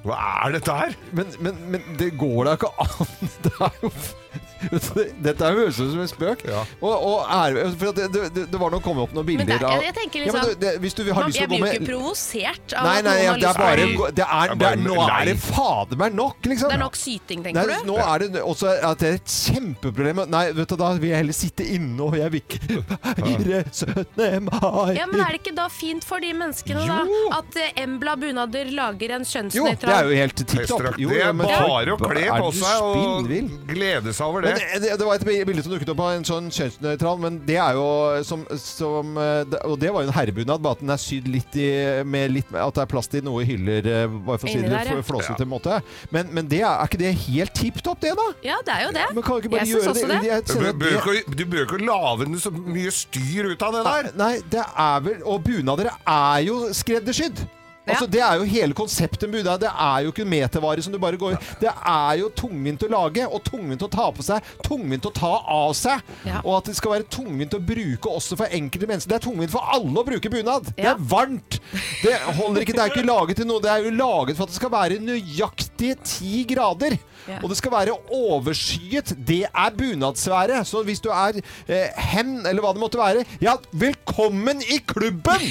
Speaker 5: Hva er dette her?
Speaker 4: Men, men, men det går da ikke an. Det er jo dette her høres ut som en spøk. Og, og ære, for at det, det, det var noe kommet opp noen
Speaker 8: Men det,
Speaker 4: bilder
Speaker 8: er-
Speaker 4: av
Speaker 8: jeg tenker
Speaker 4: Ja,
Speaker 8: liksom
Speaker 4: men du, det, Hvis du har
Speaker 8: Man-
Speaker 4: lyst til å
Speaker 8: Jeg
Speaker 4: gå
Speaker 8: blir jo ikke
Speaker 4: med
Speaker 8: provosert av
Speaker 4: Nei,
Speaker 8: at
Speaker 4: nei,
Speaker 8: noen
Speaker 4: ja, det er
Speaker 8: har lyst til å-
Speaker 4: bare det er, det er, Nå er det
Speaker 5: lei.
Speaker 4: fader meg nok, liksom.
Speaker 8: Det er nok syting,
Speaker 4: Nei,
Speaker 8: tenker du?
Speaker 4: nå er det også at det er et kjempeproblem. Nei, vet du, da vil jeg heller sitte inne, og jeg vil ikke feire 17. mai.
Speaker 8: Ja, men Er det ikke da fint for de menneskene da at eh, Embla Bunader lager en
Speaker 4: Jo,
Speaker 8: kjønnsnøytral
Speaker 4: det er jo helt tipp topp.
Speaker 5: Festdrakt, det er bare å kle på seg og glede seg over det.
Speaker 4: Men det, det var et bilde som dukket opp av en sånn kjønnsnøytral, men det er jo som, som eh, det- Og det var jo en herrebunad, bare at den er sydd litt i med litt, At det er plass til noe hyller, eh, bare for å si
Speaker 8: Inni
Speaker 4: det
Speaker 8: der, ja.
Speaker 4: litt flåsete måte. Men, men det er, er ikke det helt tipp topp, det, da?
Speaker 8: Ja, det er jo det.
Speaker 4: Men kan du ikke bare
Speaker 8: jeg syns
Speaker 4: gjøre
Speaker 8: også
Speaker 4: det?
Speaker 8: det.
Speaker 4: Jeg
Speaker 5: Du
Speaker 4: kjenner at
Speaker 5: bør
Speaker 4: det-
Speaker 5: ikke- du bør ikke lage så mye styr ut av det der.
Speaker 4: Nei, det er vel Og bunader er jo skreddersydd. Altså, det er jo hele konseptet med Buda. Det er jo ikke metervare som du bare går Det er jo tungvint å lage, og tungvint å ta på seg, tungvint å ta av seg. Og at det skal være tungvint å bruke også for enkelte mennesker. Det er tungvint for alle å bruke bunad. Det er varmt. Det holder ikke. Det er ikke laget til noe. Det er jo laget for at det skal være nøyaktig ti grader.
Speaker 12: Ja.
Speaker 4: Og det skal være overskyet. Det er bunadsværet. Så hvis du er eh, hen, eller hva det måtte være, ja, velkommen i klubben!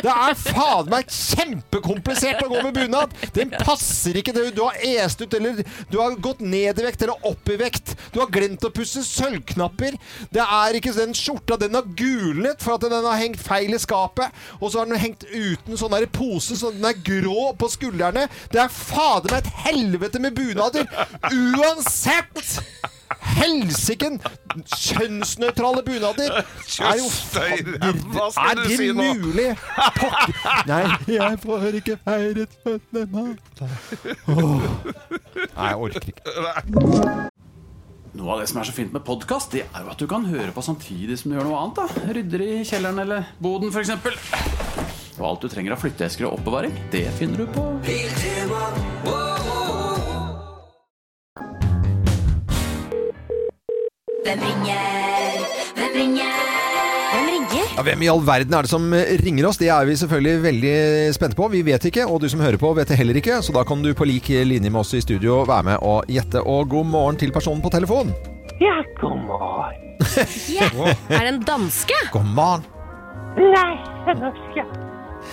Speaker 4: Det er fader meg kjempekomplisert å gå med bunad! Den passer ikke til Du har est ut, eller du har gått ned i vekt, eller opp i vekt. Du har glemt å pusse sølvknapper. Det er ikke den skjorta. Den har gulnet for at den har hengt feil i skapet. Og så har den hengt uten sånn der pose, så den er grå på skuldrene. Det er fader meg et helvete med bunader! Uansett! Helsiken! Kjønnsnøytrale bunader! Er jo
Speaker 5: Kjøstøy, hva skal
Speaker 4: er
Speaker 5: du
Speaker 4: det
Speaker 5: si nå?
Speaker 4: mulig? Pokker. Nei, jeg får ikke feiret føttene Nei, jeg orker
Speaker 1: ikke. Noe av det som er så fint med podkast, det er jo at du kan høre på samtidig som du gjør noe annet. da Rydder i kjelleren eller boden, f.eks. Og alt du trenger av flytteesker og oppbevaring, det finner du på
Speaker 11: Hvem ringer? Hvem ringer? Hvem ringer?
Speaker 4: Ja, hvem i all verden er det som eh, ringer oss? Det er vi selvfølgelig veldig spente på. Vi vet ikke, og du som hører på vet det heller ikke, så da kan du på lik linje med oss i studio være med og gjette. Og god morgen til personen på telefon.
Speaker 11: Ja, god morgen.
Speaker 8: Er det en danske?
Speaker 4: God morgen.
Speaker 11: Nei, det er norsk, ja.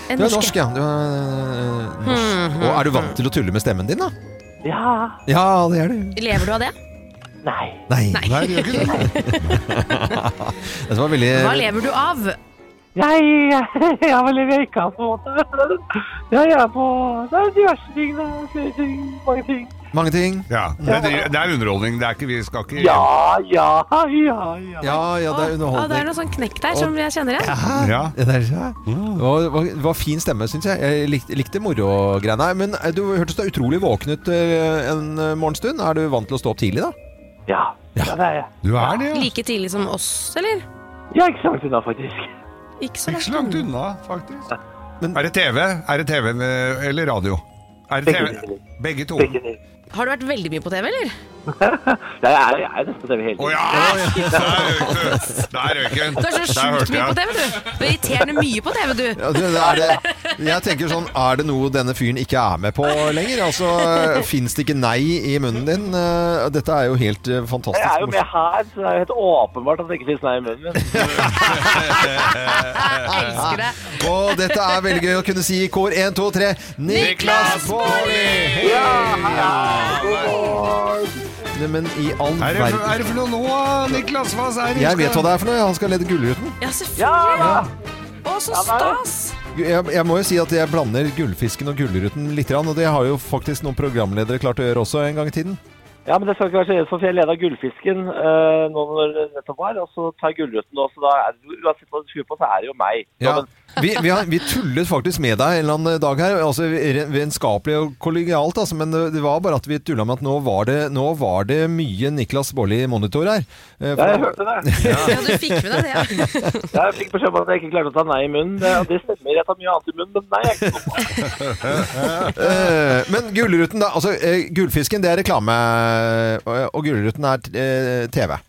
Speaker 4: Du er norsk, ja. Du er øh, norsk. Og er du vant til å tulle med stemmen din, da?
Speaker 11: Ja.
Speaker 4: Ja, det er du.
Speaker 8: Lever du av det?
Speaker 11: Nei.
Speaker 4: Nei.
Speaker 8: Nei. Nei, det gjør ikke
Speaker 4: Dette var veldig
Speaker 8: Hva lever du av?
Speaker 11: Jeg, jeg var litt røyka på en måte. Ja, jeg er på Det er diverse ting. Det er flere ting, mange ting.
Speaker 4: Mange ting.
Speaker 5: Ja, det, det er underholdning. Det er ikke, vi skal ikke
Speaker 11: Ja, ja, ja. ja.
Speaker 4: ja, det er
Speaker 8: Å, det
Speaker 4: underholdning.
Speaker 8: er noe sånn knekk der som jeg kjenner igjen.
Speaker 4: Ja. Det der, ja. Det var, det var, det var fin stemme, syns jeg. Jeg likte, likte morogreiene. Men eh, du hørtes da utrolig våken ut eh, en eh, morgenstund. Er du vant til å stå opp tidlig, da?
Speaker 11: Ja. det er jeg.
Speaker 4: Du er
Speaker 8: Like tidlig som oss, eller?
Speaker 11: Jeg er ikke så langt unna, faktisk.
Speaker 8: Ikke så
Speaker 5: så langt unna, faktisk. Er det TV? Er det TV eller radio? Er det
Speaker 11: Begge
Speaker 5: TV? Begge to.
Speaker 8: Har du vært veldig mye på TV, eller?
Speaker 11: Jeg er, jeg er nesten på TV hele tiden.
Speaker 5: Å ja! Der røyk den.
Speaker 8: Du er så sjukt mye på TV, du. Du er irriterende mye på TV, du.
Speaker 4: Ja, du, det er det. Jeg tenker sånn, er det noe denne fyren ikke er med på lenger? Altså, Fins det ikke nei i munnen din? Eh, Dette er jo helt eh, fantastisk.
Speaker 11: Jeg er jo
Speaker 4: morsomt.
Speaker 11: med her, så det er jo helt åpenbart at det ikke finnes nei i munnen min.
Speaker 8: elsker det.
Speaker 4: Og dette er veldig gøy å kunne si i kor 1, 2, 3 Niklas Baarli!
Speaker 11: Ja,
Speaker 4: Nei, Men i all
Speaker 5: Er det, for- er
Speaker 4: verden
Speaker 5: det for noe nå, Niklas? Hva er det?
Speaker 4: Jeg vet hva det er for noe. Han skal lede Gullruten.
Speaker 8: Ja, selvfølgelig. Å, så stas.
Speaker 4: Jeg, jeg må jo si at jeg blander Gullfisken og Gullruten litt, grann, og det har jo faktisk noen programledere klart å gjøre også en gang i tiden.
Speaker 11: Ja, men det skal ikke være så redd for, for jeg leda Gullfisken eh, nå når det nettopp var, og så tar jeg Gullruten nå, så da er det, uansett hva du skrur på, så er det jo meg.
Speaker 4: Ja. Vi, vi, har, vi tullet faktisk med deg en eller annen dag her, altså re- vennskapelig og kollegialt, altså, men det var bare at vi tulla med at nå var det, nå var det mye Niklas Baarli-monitor her. Eh, for-
Speaker 11: Ja, jeg hørte det.
Speaker 4: Ja.
Speaker 8: Ja, du fikk med deg det, ja.
Speaker 11: Ja, jeg fikk beskjed om at jeg ikke klarte å ta nei i munnen. Det, og det stemmer, jeg tar mye annet i munnen, men nei, jeg er ikke
Speaker 4: Eh, men Gullruten, da. Altså, eh, Gullfisken, det er reklame, og, og Gullruten er eh, TV.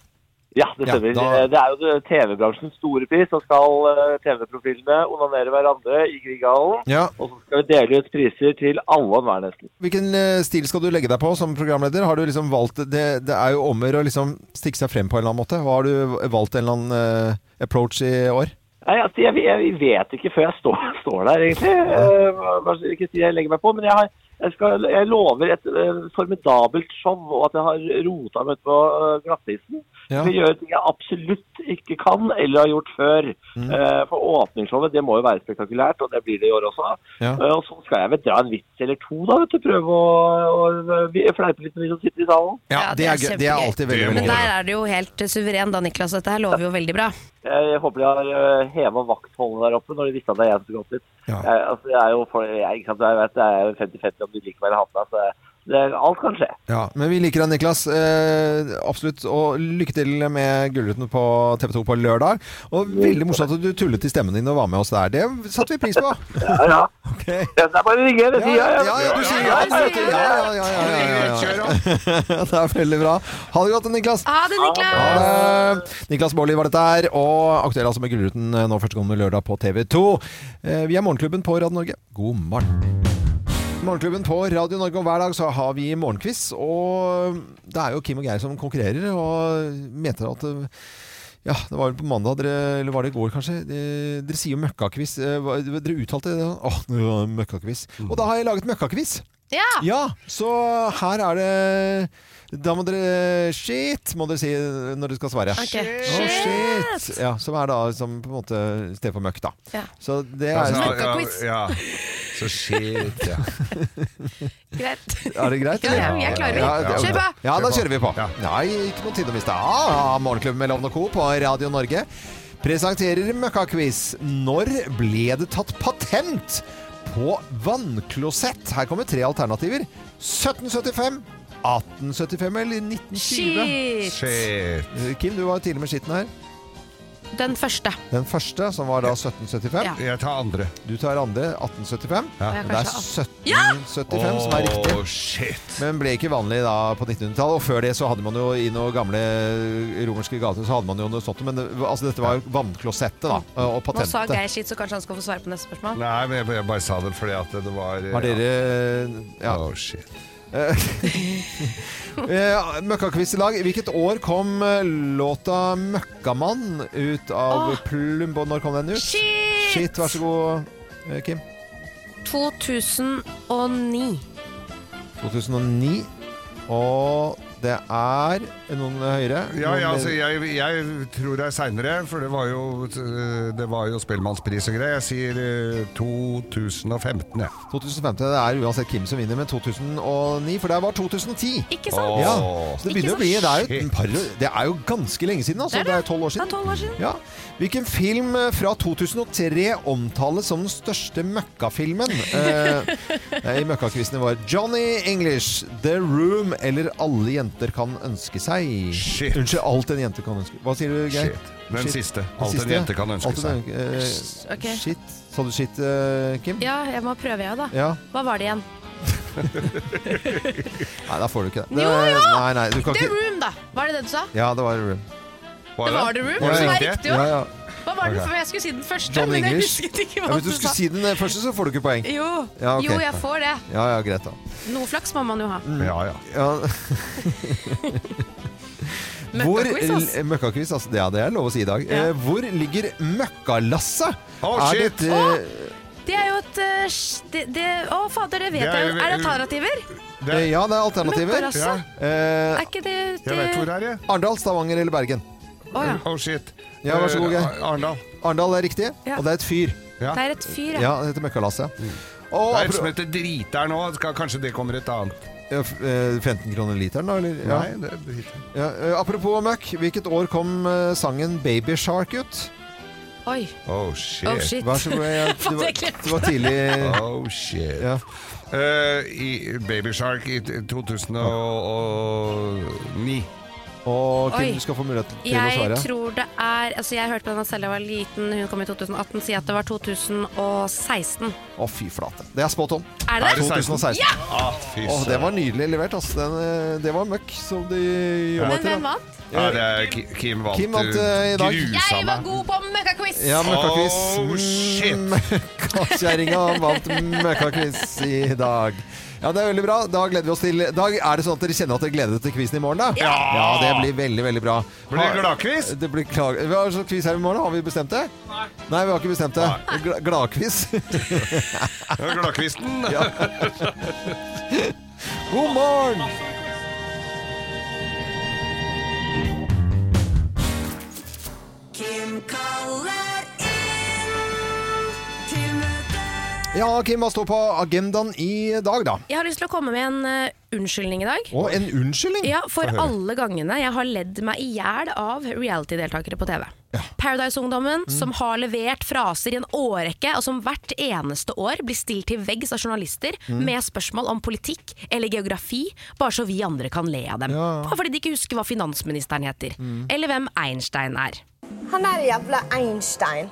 Speaker 11: Ja, det
Speaker 4: Ja,
Speaker 11: stemmer.
Speaker 4: da-
Speaker 11: Det er jo det- TV-bransjens store pris. Så skal eh, TV-profilene onanere hverandre i Grieghallen.
Speaker 4: Ja.
Speaker 11: Og så skal vi dele ut priser til alle og enhver, nesten.
Speaker 4: Hvilken eh, stil skal du legge deg på som programleder? Har du liksom valgt Det, det er jo omgjør å liksom stikke seg frem på en eller annen måte. Hva har du valgt en eller annen eh, approach i år?
Speaker 11: Nei, altså, jeg, jeg vet ikke før jeg står, står der, egentlig. eh, hva- Hva skal jeg si jeg legger meg på? Men jeg, har, jeg, skal, jeg lover et eh, formidabelt show, og at jeg har rota meg ut på eh, glattisen.
Speaker 4: Ja.
Speaker 11: Jeg gjør ting jeg absolutt ikke kan eller har gjort før.
Speaker 4: Mm.
Speaker 11: Eh, For åpningsshowet det må jo være spektakulært, og det blir det i år også.
Speaker 4: Ja.
Speaker 11: Eh, Og så skal jeg vel dra en vits eller to, da, vet du. Prøve å, å vi- fleipe litt med de som sitter i salen.
Speaker 4: Ja, det, er, gøy. det er
Speaker 8: kjempegøy.
Speaker 4: alltid veldig, veldig
Speaker 8: Men
Speaker 4: gøy.
Speaker 8: der er du jo helt eh, suveren da, Niklas. Dette her lover jo veldig bra.
Speaker 11: Eh, Jeg håper de har heva vaktholdene der oppe når de visste at det er jeg som skulle opp dit.
Speaker 4: Ja.
Speaker 11: Jeg, altså, jeg er jo for, jeg, ikke sant, jeg vet, det er jo 50-50 om de liker meg eller hater meg, så jeg,
Speaker 12: det, alt kan skje.
Speaker 4: Ja, men vi liker deg, Niklas. Eh, absolutt. Og lykke til med Gullruten på TV 2 på lørdag. Og veldig morsomt at du tullet i stemmen din og var med oss der. Det satte vi pris på.
Speaker 12: Ja, ja. Det er bare å ringe, det sier jeg.
Speaker 4: Ja, ja, du sier ja. du sier ja, ja, ja, ja, ja, ja, ja. Det er veldig bra. Ha det godt, Niklas.
Speaker 8: Ha det, Niklas.
Speaker 4: Ha det. Niklas Baarli var dette her, og aktuell altså med Gullruten eh, nå første gang med lørdag på TV 2. Eh, Vi er Morgenklubben på Radio Norge. God morgen. Morgenklubben på Radio Norge, og hver dag så har vi morgenquiz. Og det er jo Kim og Geir som konkurrerer, og mener at eh, ja, det var vel på mandag, dere, eller var det i går kanskje? Dere, dere sier jo møkkakviss. Eh, hva- Dere uttalte det. Åh, det var en møkkakviss. Og da har jeg laget møkkakviss.
Speaker 8: Ja.
Speaker 4: Så her er det Da må dere Shit, må dere si når dere skal svare.
Speaker 11: Ok.
Speaker 4: Åh, shit. Ja, som er da som på en måte sted for møkk, da.
Speaker 8: Ja.
Speaker 4: Så det er
Speaker 5: Altså, Ja, så- Møkkaquiz. ja, ja. Så shit, ja.
Speaker 8: Greit.
Speaker 4: Er det greit?
Speaker 8: Ja, ja, jeg klarer det.
Speaker 4: er
Speaker 8: Kjør
Speaker 4: bra.
Speaker 8: på.
Speaker 4: Ja, da kjører vi på. Nei, ikke noe tid å miste. Ah, Morgenklubben med Lovende Co. på Radio Norge presenterer Møkkaquiz. Når ble det tatt patent på vannklosett? Her kommer tre alternativer. 1775, 1875 eller 1920?
Speaker 8: Shit.
Speaker 4: Eh, Kim, du var tidlig med skitten her.
Speaker 8: Den første.
Speaker 4: Den første, som var da 1775.
Speaker 8: Ja.
Speaker 4: Jeg tar andre. Du tar andre, 1875.
Speaker 8: Ja. Jeg
Speaker 4: Det er
Speaker 8: kanskje
Speaker 4: 1775 som er riktig.
Speaker 5: Åh, shit.
Speaker 4: Men ble ikke vanlig da på 1900-tallet. Og før det så hadde man jo i noen gamle eh, romerske gater så hadde man jo noe sånt. Men det, altså, dette var jo vannklosettet, da. Og
Speaker 8: Nå sa
Speaker 4: patentet.
Speaker 8: Geir sitt, så kanskje han skal få svare på neste spørsmål.
Speaker 5: Nei, men jeg, jeg bare sa det fordi at det var
Speaker 4: Har dere Ja.
Speaker 5: Åh, shit.
Speaker 4: Eh, Møkkakviss i dag. Hvilket år kom eh, låta 'Møkkamann' ut av Plumbo? Når kom den ut?
Speaker 8: Shit!
Speaker 4: Shit, vær så god, eh, Kim.
Speaker 8: 2009.
Speaker 4: 2009. Og det er noen høyere.
Speaker 5: Ja,
Speaker 4: Noen
Speaker 5: ja,
Speaker 4: mer-
Speaker 5: altså, jeg, jeg tror det er seinere, for det var jo, eh, det var jo Spellemannspris og greier. Jeg sier eh, 2015, jeg.
Speaker 4: 2015, Det er uansett Kim som vinner, men 2009, for der var 2010.
Speaker 8: Ikke
Speaker 5: sant?
Speaker 4: Ja, så det
Speaker 5: Ikke
Speaker 4: begynner å bli
Speaker 5: sant?
Speaker 4: det er, jo et par, det er jo ganske lenge siden, altså. Det er tolv år siden. Ja. Hvilken film eh, fra 2003 omtales som den største møkkafilmen? Eh, I møkkakvissene var Johnny English, The Room eller Alle jenter kan ønske seg. Unnskyld, Alt en jente kan ønske Hva sier du, Geir?
Speaker 5: Shit. Den siste. Alt en jente kan ønske
Speaker 4: Alt en-
Speaker 5: seg.
Speaker 4: eh,
Speaker 8: Ok.
Speaker 4: Shit. Sa du shit, eh, Kim?
Speaker 8: Ja, jeg må prøve, jeg, da.
Speaker 4: Ja.
Speaker 8: Hva var det igjen?
Speaker 4: Nei, da får du ikke det.
Speaker 8: Jo, jo!
Speaker 4: Nei, nei, du kan
Speaker 8: The
Speaker 4: ikke...
Speaker 8: Room, da! Var det det du sa?
Speaker 4: Ja, det var The Room.
Speaker 8: Det var The Room, som er riktig
Speaker 4: Ja,
Speaker 8: òg.
Speaker 4: ja.
Speaker 8: Hva var den
Speaker 4: Ok.
Speaker 8: for? Jeg skulle si den første,
Speaker 4: John
Speaker 8: men jeg
Speaker 4: English.
Speaker 8: husket ikke
Speaker 4: Ja,
Speaker 8: hva
Speaker 4: hvis du skulle si den eh, første, så får du ikke poeng.
Speaker 8: Jo.
Speaker 4: Ja, ok.
Speaker 8: jo, jeg får det.
Speaker 4: Ja, ja, greit da.
Speaker 8: Noe flaks må man jo ha.
Speaker 4: Ja, ja. Hvor,
Speaker 8: Møkkaquiz, ass.
Speaker 4: møkkaquiz, altså. Ja, det er lov å si i dag. Eh, Hvor ligger møkkalasset?
Speaker 5: Oh,
Speaker 8: Å,
Speaker 4: Er
Speaker 8: shit.
Speaker 4: det et,
Speaker 8: Å,
Speaker 4: eh,
Speaker 8: Det er jo et eh, sj- det, det, Å, fader, det vet
Speaker 4: Det er
Speaker 8: jeg
Speaker 4: jo-
Speaker 8: jo. Er det alternativer?
Speaker 4: eh, ja, det er alternativer.
Speaker 8: Møkkalasset?
Speaker 4: Eh,
Speaker 8: Er ikke det, det
Speaker 4: er, jeg. Arendal, Stavanger eller Bergen?
Speaker 8: Å, ja.
Speaker 5: Oh shit.
Speaker 4: Ja, vær så god, Geir.
Speaker 5: Eh, Arendal.
Speaker 4: Arendal er riktig,
Speaker 8: Ja.
Speaker 4: og det er et fyr.
Speaker 8: Det er et fyr, ja.
Speaker 4: Ja, det heter Møkkalasset.
Speaker 5: Mm. det er et som heter Drit der nå. Skal, kanskje det kommer et annet.
Speaker 4: Ja, f- eh, 15 kroner literen, da? Eller? Ja.
Speaker 5: Nei, det er drit.
Speaker 4: Ja, eh, apropos møkk, hvilket år kom eh, sangen 'Baby Shark' ut?
Speaker 8: Oi.
Speaker 5: Oh shit.
Speaker 4: Oh, shit. Vær så god, jeg- det var- det var tidlig-
Speaker 5: Oh shit. Eh, i Baby Shark i t- 2009.
Speaker 4: Og
Speaker 8: Kim, Oi. du skal
Speaker 4: få mulighet
Speaker 8: Jeg tror det er Altså, jeg hørte på den selv da jeg var liten. Hun kom i 2018. Si at det var 2016.
Speaker 4: Å, fy flate. Det er spot on.
Speaker 8: Er det? Er det
Speaker 4: 2016.
Speaker 8: 16? Ja!
Speaker 5: Ah, fy
Speaker 4: Å, det var nydelig levert. ass. Den, eh, det var møkk som de jobba
Speaker 8: Men hvem vant?
Speaker 5: Ja, det er Ki- Kim vant,
Speaker 4: Kim vant,
Speaker 5: du
Speaker 4: eh, i dag.
Speaker 5: grusa
Speaker 8: Jeg var
Speaker 5: meg.
Speaker 8: god på møkkaquiz!
Speaker 4: Ja, møkkakviss.
Speaker 5: Oh, shit.
Speaker 4: Møkkakjerringa vant møkkakviss i dag. Ja, det er veldig bra. Da gleder vi oss til Dag, er det sånn at dere kjenner at dere gleder dere til quizen i morgen, da?
Speaker 5: Ja!
Speaker 4: Det blir veldig, veldig bra.
Speaker 5: Blir det
Speaker 4: Ha-
Speaker 5: gladquiz?
Speaker 4: Det blir klag... Hva er det slags quiz her i morgen? Har vi bestemt det? Nei. Nei, vi har ikke bestemt det. Gla- Gladquiz.
Speaker 5: Gladkvisten.
Speaker 4: Ja. God morgen! Ja, Kim, hva står på agendaen i dag, da?
Speaker 8: Jeg har lyst til å komme med en eh, unnskyldning i dag.
Speaker 4: Å, en unnskyldning?
Speaker 8: Ja, For
Speaker 4: Få høre.
Speaker 8: alle gangene jeg har ledd meg i hjel av reality-deltakere på TV. Paradise-ungdommen
Speaker 6: Mm.
Speaker 8: som har levert fraser i en årrekke, og som hvert eneste år blir stilt til veggs av journalister
Speaker 6: Mm.
Speaker 8: med spørsmål om politikk eller geografi, bare så vi andre kan le av dem. Bare fordi de ikke husker hva finansministeren heter,
Speaker 6: Mm.
Speaker 8: eller hvem Einstein er.
Speaker 13: Han der jævla Einstein.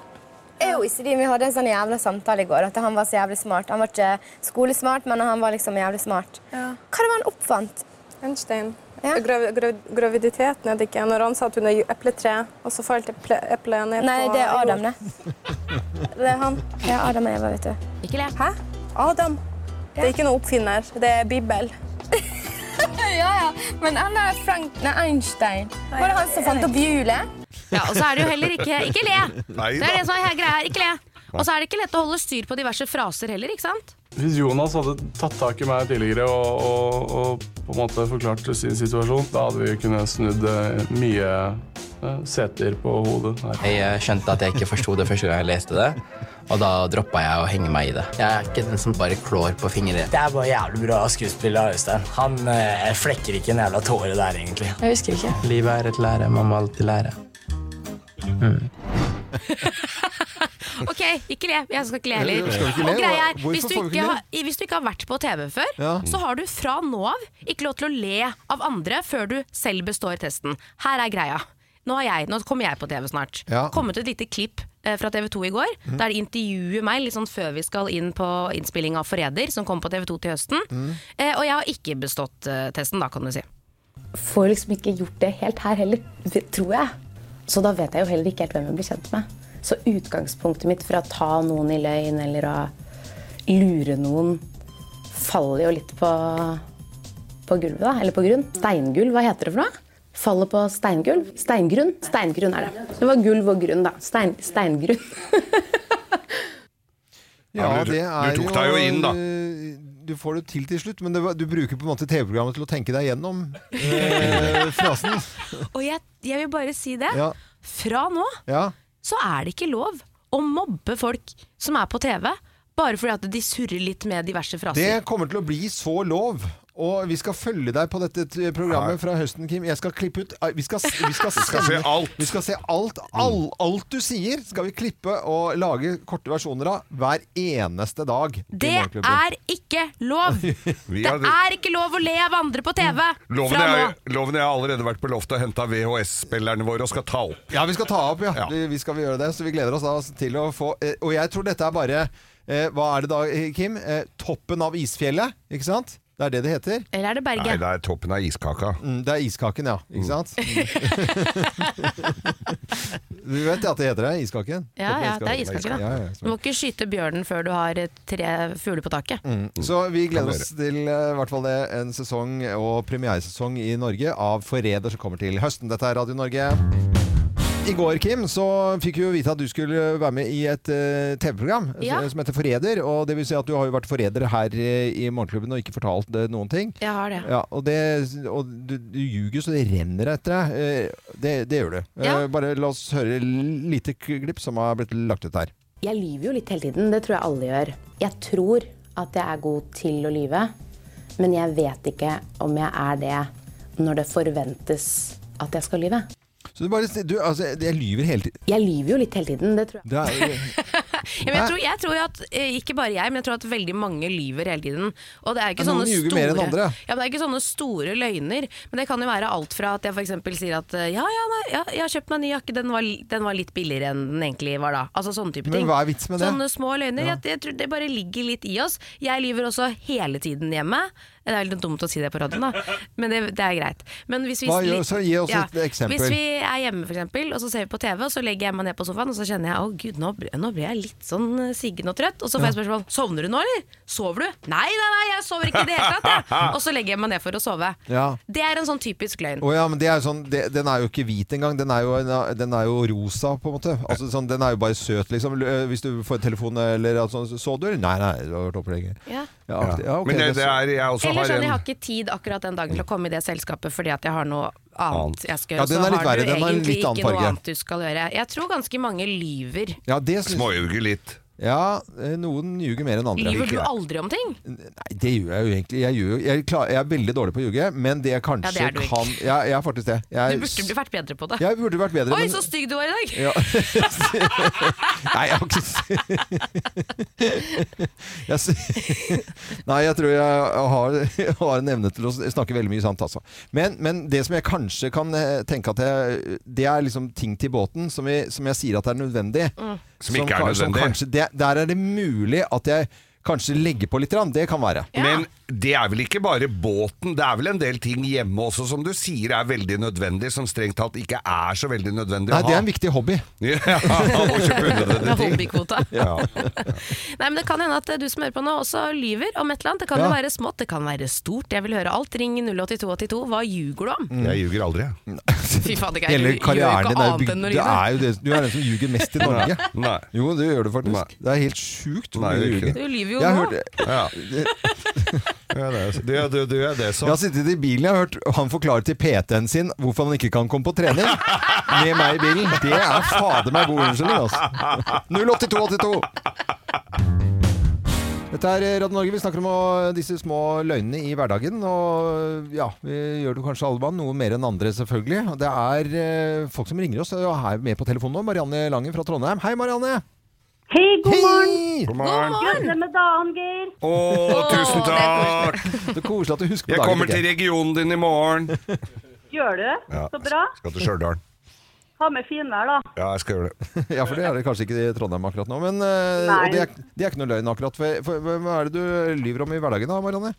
Speaker 13: Er jo ikke de vi hadde en sånn jævla samtale i går, at han var så jævlig smart. Han var ikke skolesmart, men han var liksom jævlig smart. Hva det var han oppfant?
Speaker 14: Einstein. Grav grav graviditeten er det ikke. Når han satt under epletre, og så falt eple eplet ned
Speaker 13: Nei,
Speaker 14: på
Speaker 13: det er Adam,
Speaker 14: jorden.
Speaker 13: det. Det er han. Ja, Adam og Eva, vet du.
Speaker 8: Ikke le.
Speaker 14: Hæ? Adam. Det er ikke noe oppfinner. Det er Bibel.
Speaker 13: ja, ja. Men han er Frank Nei, Einstein. Var det han som fant opp hjulet?
Speaker 8: Ja, og så er det jo heller ikke Ikke le!
Speaker 13: Nei
Speaker 8: det
Speaker 13: da.
Speaker 8: er det som er hele greia her. Ikke le. Og så er det ikke lett å holde styr på diverse fraser heller, ikke sant?
Speaker 15: Hvis Jonas hadde tatt tak i meg tidligere og, og, og på en måte forklart sin situasjon, da hadde vi kunnet snudd eh, mye eh, seter på hodet. her.
Speaker 16: Jeg eh, skjønte at jeg ikke forsto det første gang jeg leste det, og da droppa jeg å henge meg i det. Jeg er ikke den som bare klår på fingre.
Speaker 17: Det er bare jævlig bra skuespill av Øystein. Han eh, flekker ikke en jævla tåre der, egentlig.
Speaker 16: Jeg husker ikke. Livet er et lære, man må alltid lære.
Speaker 8: Ok, ikke le. Jeg skal ikke le
Speaker 16: Ja,
Speaker 8: heller.
Speaker 16: ja, skal ikke le.
Speaker 8: Og greia er,
Speaker 16: Hvorfor
Speaker 8: hvis
Speaker 16: får
Speaker 8: du,
Speaker 16: vi
Speaker 8: ikke
Speaker 16: ikke le?
Speaker 8: har, hvis du ikke har vært på TV før,
Speaker 16: Ja.
Speaker 8: så har du fra nå av ikke lov til å le av andre før du selv består testen. Her er greia. Nå, har jeg, nå kommer jeg på TV snart.
Speaker 6: Ja.
Speaker 8: Kommet et lite klipp eh, fra TV 2 i går,
Speaker 16: Mm.
Speaker 6: Mhm.
Speaker 8: der de intervjuer meg litt sånn før vi skal inn på innspilling av Forræder, som kommer på TV 2 til høsten.
Speaker 16: Mm.
Speaker 8: Eh, og jeg har ikke bestått eh, testen, da, kan du si.
Speaker 18: Får liksom ikke gjort det helt her heller, v- tror jeg. Så da vet jeg jo heller ikke helt hvem jeg blir kjent med. Så utgangspunktet mitt for å ta noen i løgn eller å lure noen, faller jo litt på, på gulvet, da. Eller på grunn. Steingulv, hva heter det for noe? Faller på steingulv? Steingrunn? Steingrunn er det. Det var gulv og grunn, da. Stein, steingrunn.
Speaker 5: Ja, du- du tok deg jo inn, da.
Speaker 4: eh, Du får det til til slutt, men det, var- du bruker på en måte TV-programmet til å tenke deg gjennom eh, frasen.
Speaker 8: Og jeg, jeg vil bare si det.
Speaker 4: Ja.
Speaker 8: Fra nå
Speaker 4: Ja.
Speaker 8: så er det ikke lov å mobbe folk som er på TV, bare fordi at de surrer litt med diverse fraser.
Speaker 4: Det kommer til å bli så lov. Og vi skal følge deg på dette t- programmet fra høsten, Kim. Jeg skal klippe ut eh, Vi skal, s- vi skal,
Speaker 5: Vi skal se
Speaker 4: sende-
Speaker 5: alt. Mm.
Speaker 4: Vi skal se alt, all, alt du sier, skal vi klippe og lage korte versjoner av hver eneste dag. i
Speaker 8: Det
Speaker 4: Morgenklubben.
Speaker 8: er ikke lov!
Speaker 5: Vi
Speaker 8: Det
Speaker 5: har-
Speaker 8: er ikke lov å le av andre på TV!
Speaker 5: Mm. Loven
Speaker 8: Fra nå.
Speaker 5: er, loven er allerede vært på loftet og henta VHS-spillerne våre og skal ta opp.
Speaker 4: Ja, vi skal ta opp, ja. Vi- Vi skal vi gjøre det, så vi gleder oss da til å få eh, Og jeg tror dette er bare eh, Hva er det da, eh, Kim? Eh, Toppen av isfjellet, ikke sant? Det er det det heter.
Speaker 8: Eller er det Berge?
Speaker 5: Nei, det er toppen av iskaka.
Speaker 4: Mm, det er iskaken, ja. Mm. Ikke sant? du vet at det heter det? Iskaken?
Speaker 8: Ja, ja, det er iskaken,
Speaker 4: Ja, ja,
Speaker 8: da. Du må ikke skyte bjørnen før du har eh, tre fugler på taket.
Speaker 5: Mm.
Speaker 4: Så vi gleder
Speaker 8: Kan
Speaker 4: oss til eh, i hvert fall det, en sesong og premieresesong i Norge av Forræder som kommer til høsten. Dette er Radio Norge. I går, Kim, så fikk vi jo vite at du skulle være med i et eh, TV-program
Speaker 8: Ja.
Speaker 4: som heter Forræder. Og det vil si at du har jo vært forræder her eh, i Morgenklubben og ikke fortalt eh, noen ting.
Speaker 8: Jeg har det.
Speaker 4: Ja, og det, og du, du ljuger så det renner etter deg. Eh, Det, det gjør du.
Speaker 18: Ja.
Speaker 4: Eh, Bare la oss høre lite klipp som har blitt lagt ut her.
Speaker 18: Jeg lyver jo litt hele tiden, det tror jeg alle gjør. Jeg tror at jeg er god til å lyve, men jeg vet ikke om jeg er det når det forventes at jeg skal lyve.
Speaker 4: Så du bare, du, altså, jeg lyver hele tiden.
Speaker 18: Jeg lyver jo litt hele tiden, det tror jeg.
Speaker 4: Det er,
Speaker 8: Ja, men jeg, tror, jeg tror jo at, eh, ikke bare jeg, men jeg tror at veldig mange lyver hele tiden. Og det er jo
Speaker 4: Ja,
Speaker 8: ikke
Speaker 4: noen
Speaker 8: sånne
Speaker 4: ljuger
Speaker 8: store,
Speaker 4: mer enn andre.
Speaker 8: Ja, men det er ikke sånne store løgner. Men det kan jo være alt fra at jeg f.eks. sier at eh, ja, ja, nei, ja, jeg har kjøpt meg en ny jakke, den var, den var litt billigere enn den egentlig var da. Altså sånne type
Speaker 4: Men
Speaker 8: ting.
Speaker 4: hva er vitsen med det?
Speaker 8: Sånne små løgner.
Speaker 4: Ja.
Speaker 8: Jeg, jeg tror det bare ligger litt i oss. Jeg lyver også hele tiden hjemme. Det er litt dumt å si det på radioen, da, men det, det er greit. Men hvis vi
Speaker 4: Hva
Speaker 8: li-
Speaker 4: gjør- så gi oss et eksempel.
Speaker 8: Hvis vi er hjemme, for eksempel, og så ser vi på TV, og så legger jeg meg ned på sofaen, og så kjenner jeg å gud, nå, ble- nå ble jeg litt sånn eh, siggen og trøtt. Og så får jeg spørsmål sovner du nå, eller? Sover du? Nei, nei, nei, jeg sover ikke i det hele tatt, jeg. Og så legger jeg meg ned for å sove.
Speaker 4: ja.
Speaker 8: Det er en sånn typisk løgn.
Speaker 4: Å ja, men det er jo sånn, det, den er jo ikke hvit engang. Den er jo, den er jo rosa, på en måte. Altså, sånn, den er jo bare søt, liksom. L- øh, Hvis du får en telefon eller altså, Så du? Nei, nei, du har vært oppe lenge.
Speaker 8: Ja.
Speaker 4: Ja, aktig- ja, ok,
Speaker 5: Men det,
Speaker 4: det-
Speaker 5: det er jeg også
Speaker 8: Eller
Speaker 5: har
Speaker 8: sånn,
Speaker 5: en
Speaker 8: jeg har ikke tid akkurat den dagen til å komme i det selskapet fordi at jeg har noe
Speaker 5: Annet.
Speaker 8: annet jeg skal
Speaker 5: Ja,
Speaker 8: gjøre.
Speaker 5: den er
Speaker 8: så
Speaker 5: litt
Speaker 8: har
Speaker 5: verre.
Speaker 8: du
Speaker 5: Den har en
Speaker 8: egentlig
Speaker 5: litt annen
Speaker 8: ikke noe
Speaker 5: farge.
Speaker 8: annet du skal gjøre. Jeg tror ganske mange lyver.
Speaker 4: Ja, det
Speaker 5: Småljuger litt.
Speaker 4: Ja, eh, noen ljuger mer enn andre.
Speaker 8: Lyver du aldri om ting?
Speaker 4: Nei, det gjør jeg jo egentlig. Jeg, gjør, jeg, klar, jeg er veldig dårlig på å ljuge, men det jeg kanskje
Speaker 8: Ja, det er du ikke.
Speaker 4: kan ja, Jeg er faktisk det. Jeg,
Speaker 8: Du burde bli- vært bedre på det.
Speaker 4: Jeg burde vært bedre,
Speaker 8: Oi,
Speaker 4: men-
Speaker 8: så stygg du var i dag!
Speaker 4: Ja. Nei, jeg har ikke jeg, s- Nei, jeg tror jeg har, har en evne til å snakke veldig mye sant, altså. Men, men det som jeg kanskje kan eh, tenke at jeg, Det er liksom ting til båten som jeg, som jeg sier at er nødvendig.
Speaker 5: Mm. Som ikke er
Speaker 4: kan- som
Speaker 5: nødvendig.
Speaker 4: kanskje, det, der er det mulig at jeg kanskje legger på litt. grann. Det kan være.
Speaker 5: Men det er vel ikke bare båten, det er vel en del ting hjemme også som du sier er veldig nødvendig, som strengt tatt ikke er så veldig nødvendig
Speaker 4: Nei,
Speaker 5: å ha.
Speaker 4: det er en viktig hobby.
Speaker 5: Ja, å kjøpe unødvendige ting.
Speaker 8: Hobbykvota.
Speaker 5: Ja.
Speaker 8: Nei, men Det kan hende at eh, du som hører på nå også lyver om et eller annet. Det kan
Speaker 4: Ja.
Speaker 8: jo være smått, det kan være stort. Jeg vil høre alt. Ring 08282. Hva ljuger du om?
Speaker 5: Jeg ljuger aldri.
Speaker 8: Fy fader, Geir.
Speaker 4: Hele
Speaker 8: du
Speaker 4: karrieren din er jo
Speaker 8: gjør jo
Speaker 4: bygd
Speaker 8: ikke annet enn å
Speaker 4: det
Speaker 8: lyve.
Speaker 4: er jo det, Du er den som ljuger mest i Norge.
Speaker 5: Nei.
Speaker 4: Jo, det gjør du faktisk. Det er helt sjukt hvor
Speaker 5: Nei,
Speaker 4: mye du
Speaker 5: det er ikke
Speaker 4: ljuger.
Speaker 5: det.
Speaker 8: Du lyver jo
Speaker 4: Jeg har
Speaker 8: nå.
Speaker 4: hørt-
Speaker 5: Ja. Ja, det er- Altså, det er- det er- det er det som
Speaker 4: Jeg har sittet i bilen jeg har hørt han forklare til PT-en sin hvorfor han ikke kan komme på trening. Med meg i bilen. Det er fader meg god unnskyldning, altså. 08282! Dette er eh, Radio Norge. Vi snakker om å- disse små løgnene i hverdagen. Og ja, vi gjør det kanskje alle mann, noe mer enn andre selvfølgelig. Og det er eh, folk som ringer oss og er med på telefonen nå. Marianne Langen fra Trondheim. Hei, Marianne!
Speaker 19: Hei, god morgen!
Speaker 4: God
Speaker 19: Gratulerer med dagen, Geir.
Speaker 5: Å, tusen takk!
Speaker 4: Det er koselig at du husker på
Speaker 5: Jeg
Speaker 4: dagen,
Speaker 5: kommer
Speaker 4: Geir.
Speaker 5: til regionen din i morgen.
Speaker 19: Gjør du?
Speaker 5: Ja.
Speaker 19: Så bra.
Speaker 5: Skal til Stjørdal.
Speaker 19: Ha med finvær, da.
Speaker 5: Ja, jeg skal gjøre det.
Speaker 4: Ja, for det er det kanskje ikke i Trondheim akkurat nå. Men eh,
Speaker 19: Nei.
Speaker 4: og det, er, det er ikke noe løgn akkurat. For, for, hva er det du lyver om i hverdagen da, Marianne?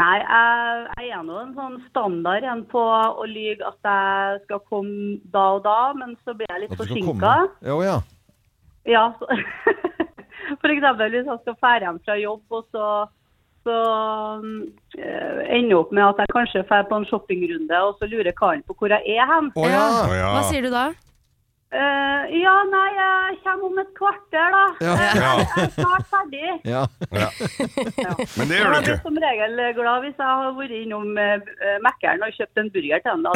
Speaker 19: Nei, jeg, jeg er nå en sånn standard en på å lyge at jeg skal komme da og da, men så blir jeg litt
Speaker 4: At du skal
Speaker 19: forsinka.
Speaker 4: komme? Jo, ja.
Speaker 19: Ja, så, for eksempel hvis jeg skal fære hjem fra jobb, og så, så eh, ender jeg opp med at jeg kanskje fær på en shoppingrunde, og så lurer karen på hvor jeg er hen.
Speaker 4: Å ja. Å ja. Ah, Hva sier
Speaker 8: du da?
Speaker 19: Eh, ja, nei, jeg kommer om et kvarter, da.
Speaker 4: Ja.
Speaker 19: Eh,
Speaker 4: Ja.
Speaker 19: Jeg er snart ferdig.
Speaker 4: Ja.
Speaker 5: Men det
Speaker 19: Jeg
Speaker 5: gjør du
Speaker 19: blir
Speaker 5: ikke.
Speaker 19: som regel eh, glad hvis jeg har vært innom uh, Mækkern og kjøpt en burger til henne.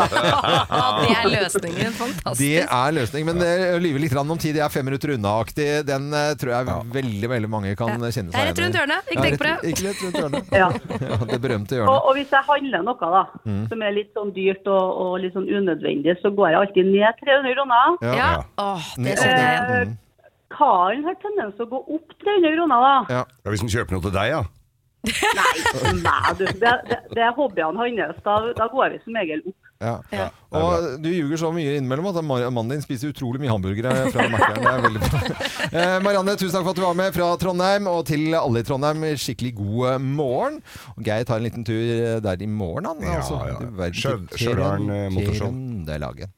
Speaker 8: Det er løsningen. Fantastisk.
Speaker 4: Det er løsning, men eh, å lyve litt grann om tid, jeg er fem minutter unna-aktig, den eh, tror jeg veldig veldig mange kan eh, kjenne seg
Speaker 8: Det er rett rundt hjørnet. Ikke tenk på det.
Speaker 4: Ikke rett rundt hjørnet.
Speaker 19: Ja.
Speaker 4: Ja, det berømte
Speaker 19: og,
Speaker 4: hjørnet.
Speaker 19: og hvis jeg handler noe da,
Speaker 4: Mm.
Speaker 19: som er litt sånn dyrt og, og litt sånn unødvendig, så går jeg alltid ned 300 kroner.
Speaker 4: Ja. Ja.
Speaker 8: Åh,
Speaker 4: det kjenner jeg igjen.
Speaker 19: Eh, Karen har tendens til å gå opp 300 kroner, da.
Speaker 4: Ja.
Speaker 5: Hvis den kjøper noe til deg, ja.
Speaker 19: Nei, du, det, det, det er hobbyene hans. Da, da går vi som regel opp.
Speaker 4: Ja. Og du ljuger så mye innimellom at Mar- mannen din spiser utrolig mye hamburgere fra Mækkern. Det er veldig bra. Eh, Marianne, tusen takk for at du var med fra Trondheim. Og til alle i Trondheim, skikkelig god eh, morgen. Og Geir tar en liten tur eh, der i morgen, han.
Speaker 5: Ja,
Speaker 4: altså.
Speaker 5: ja.
Speaker 4: Du verden.
Speaker 5: Stjørdal, eh, motorshow.
Speaker 4: Trøndelagen.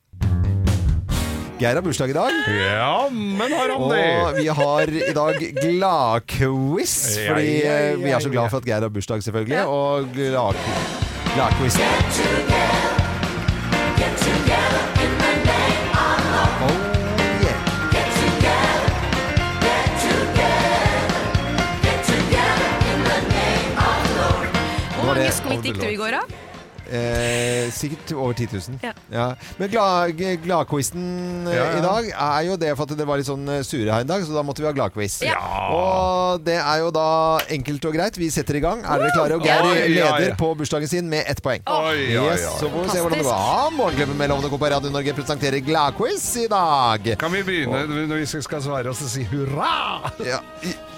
Speaker 4: Geir har bursdag i dag.
Speaker 5: Ja, men har han det?
Speaker 4: Og vi har i dag gladquiz,
Speaker 5: Ja,
Speaker 4: fordi
Speaker 5: ja,
Speaker 4: eh,
Speaker 5: ja,
Speaker 4: vi er så glad for at Geir har bursdag, selvfølgelig. Og glad- gladquiz. Oh,
Speaker 8: Hvor mange skritt gikk du i går, da?
Speaker 4: Eh, sikkert over 10 000.
Speaker 8: Ja.
Speaker 4: Men glad- g- gladquizen eh,
Speaker 5: Ja, ja.
Speaker 4: i dag er jo det for at det var litt sånn eh, sure her i dag, så da måtte vi ha gladquiz.
Speaker 5: Ja.
Speaker 4: Og det er jo da enkelt og greit. Vi setter i gang. Er dere klare? Og Geir
Speaker 5: Oi, ja, ja.
Speaker 4: leder på bursdagen sin med ett poeng.
Speaker 5: Oi, ja, ja,
Speaker 4: Yes,
Speaker 5: ja.
Speaker 4: så får vi se hvordan det går. Ja, Morgenklubben med Lovende Co på Radio Norge presenterer gladquiz i dag.
Speaker 5: Kan vi begynne når vi skal svare oss og si hurra?
Speaker 4: Ja,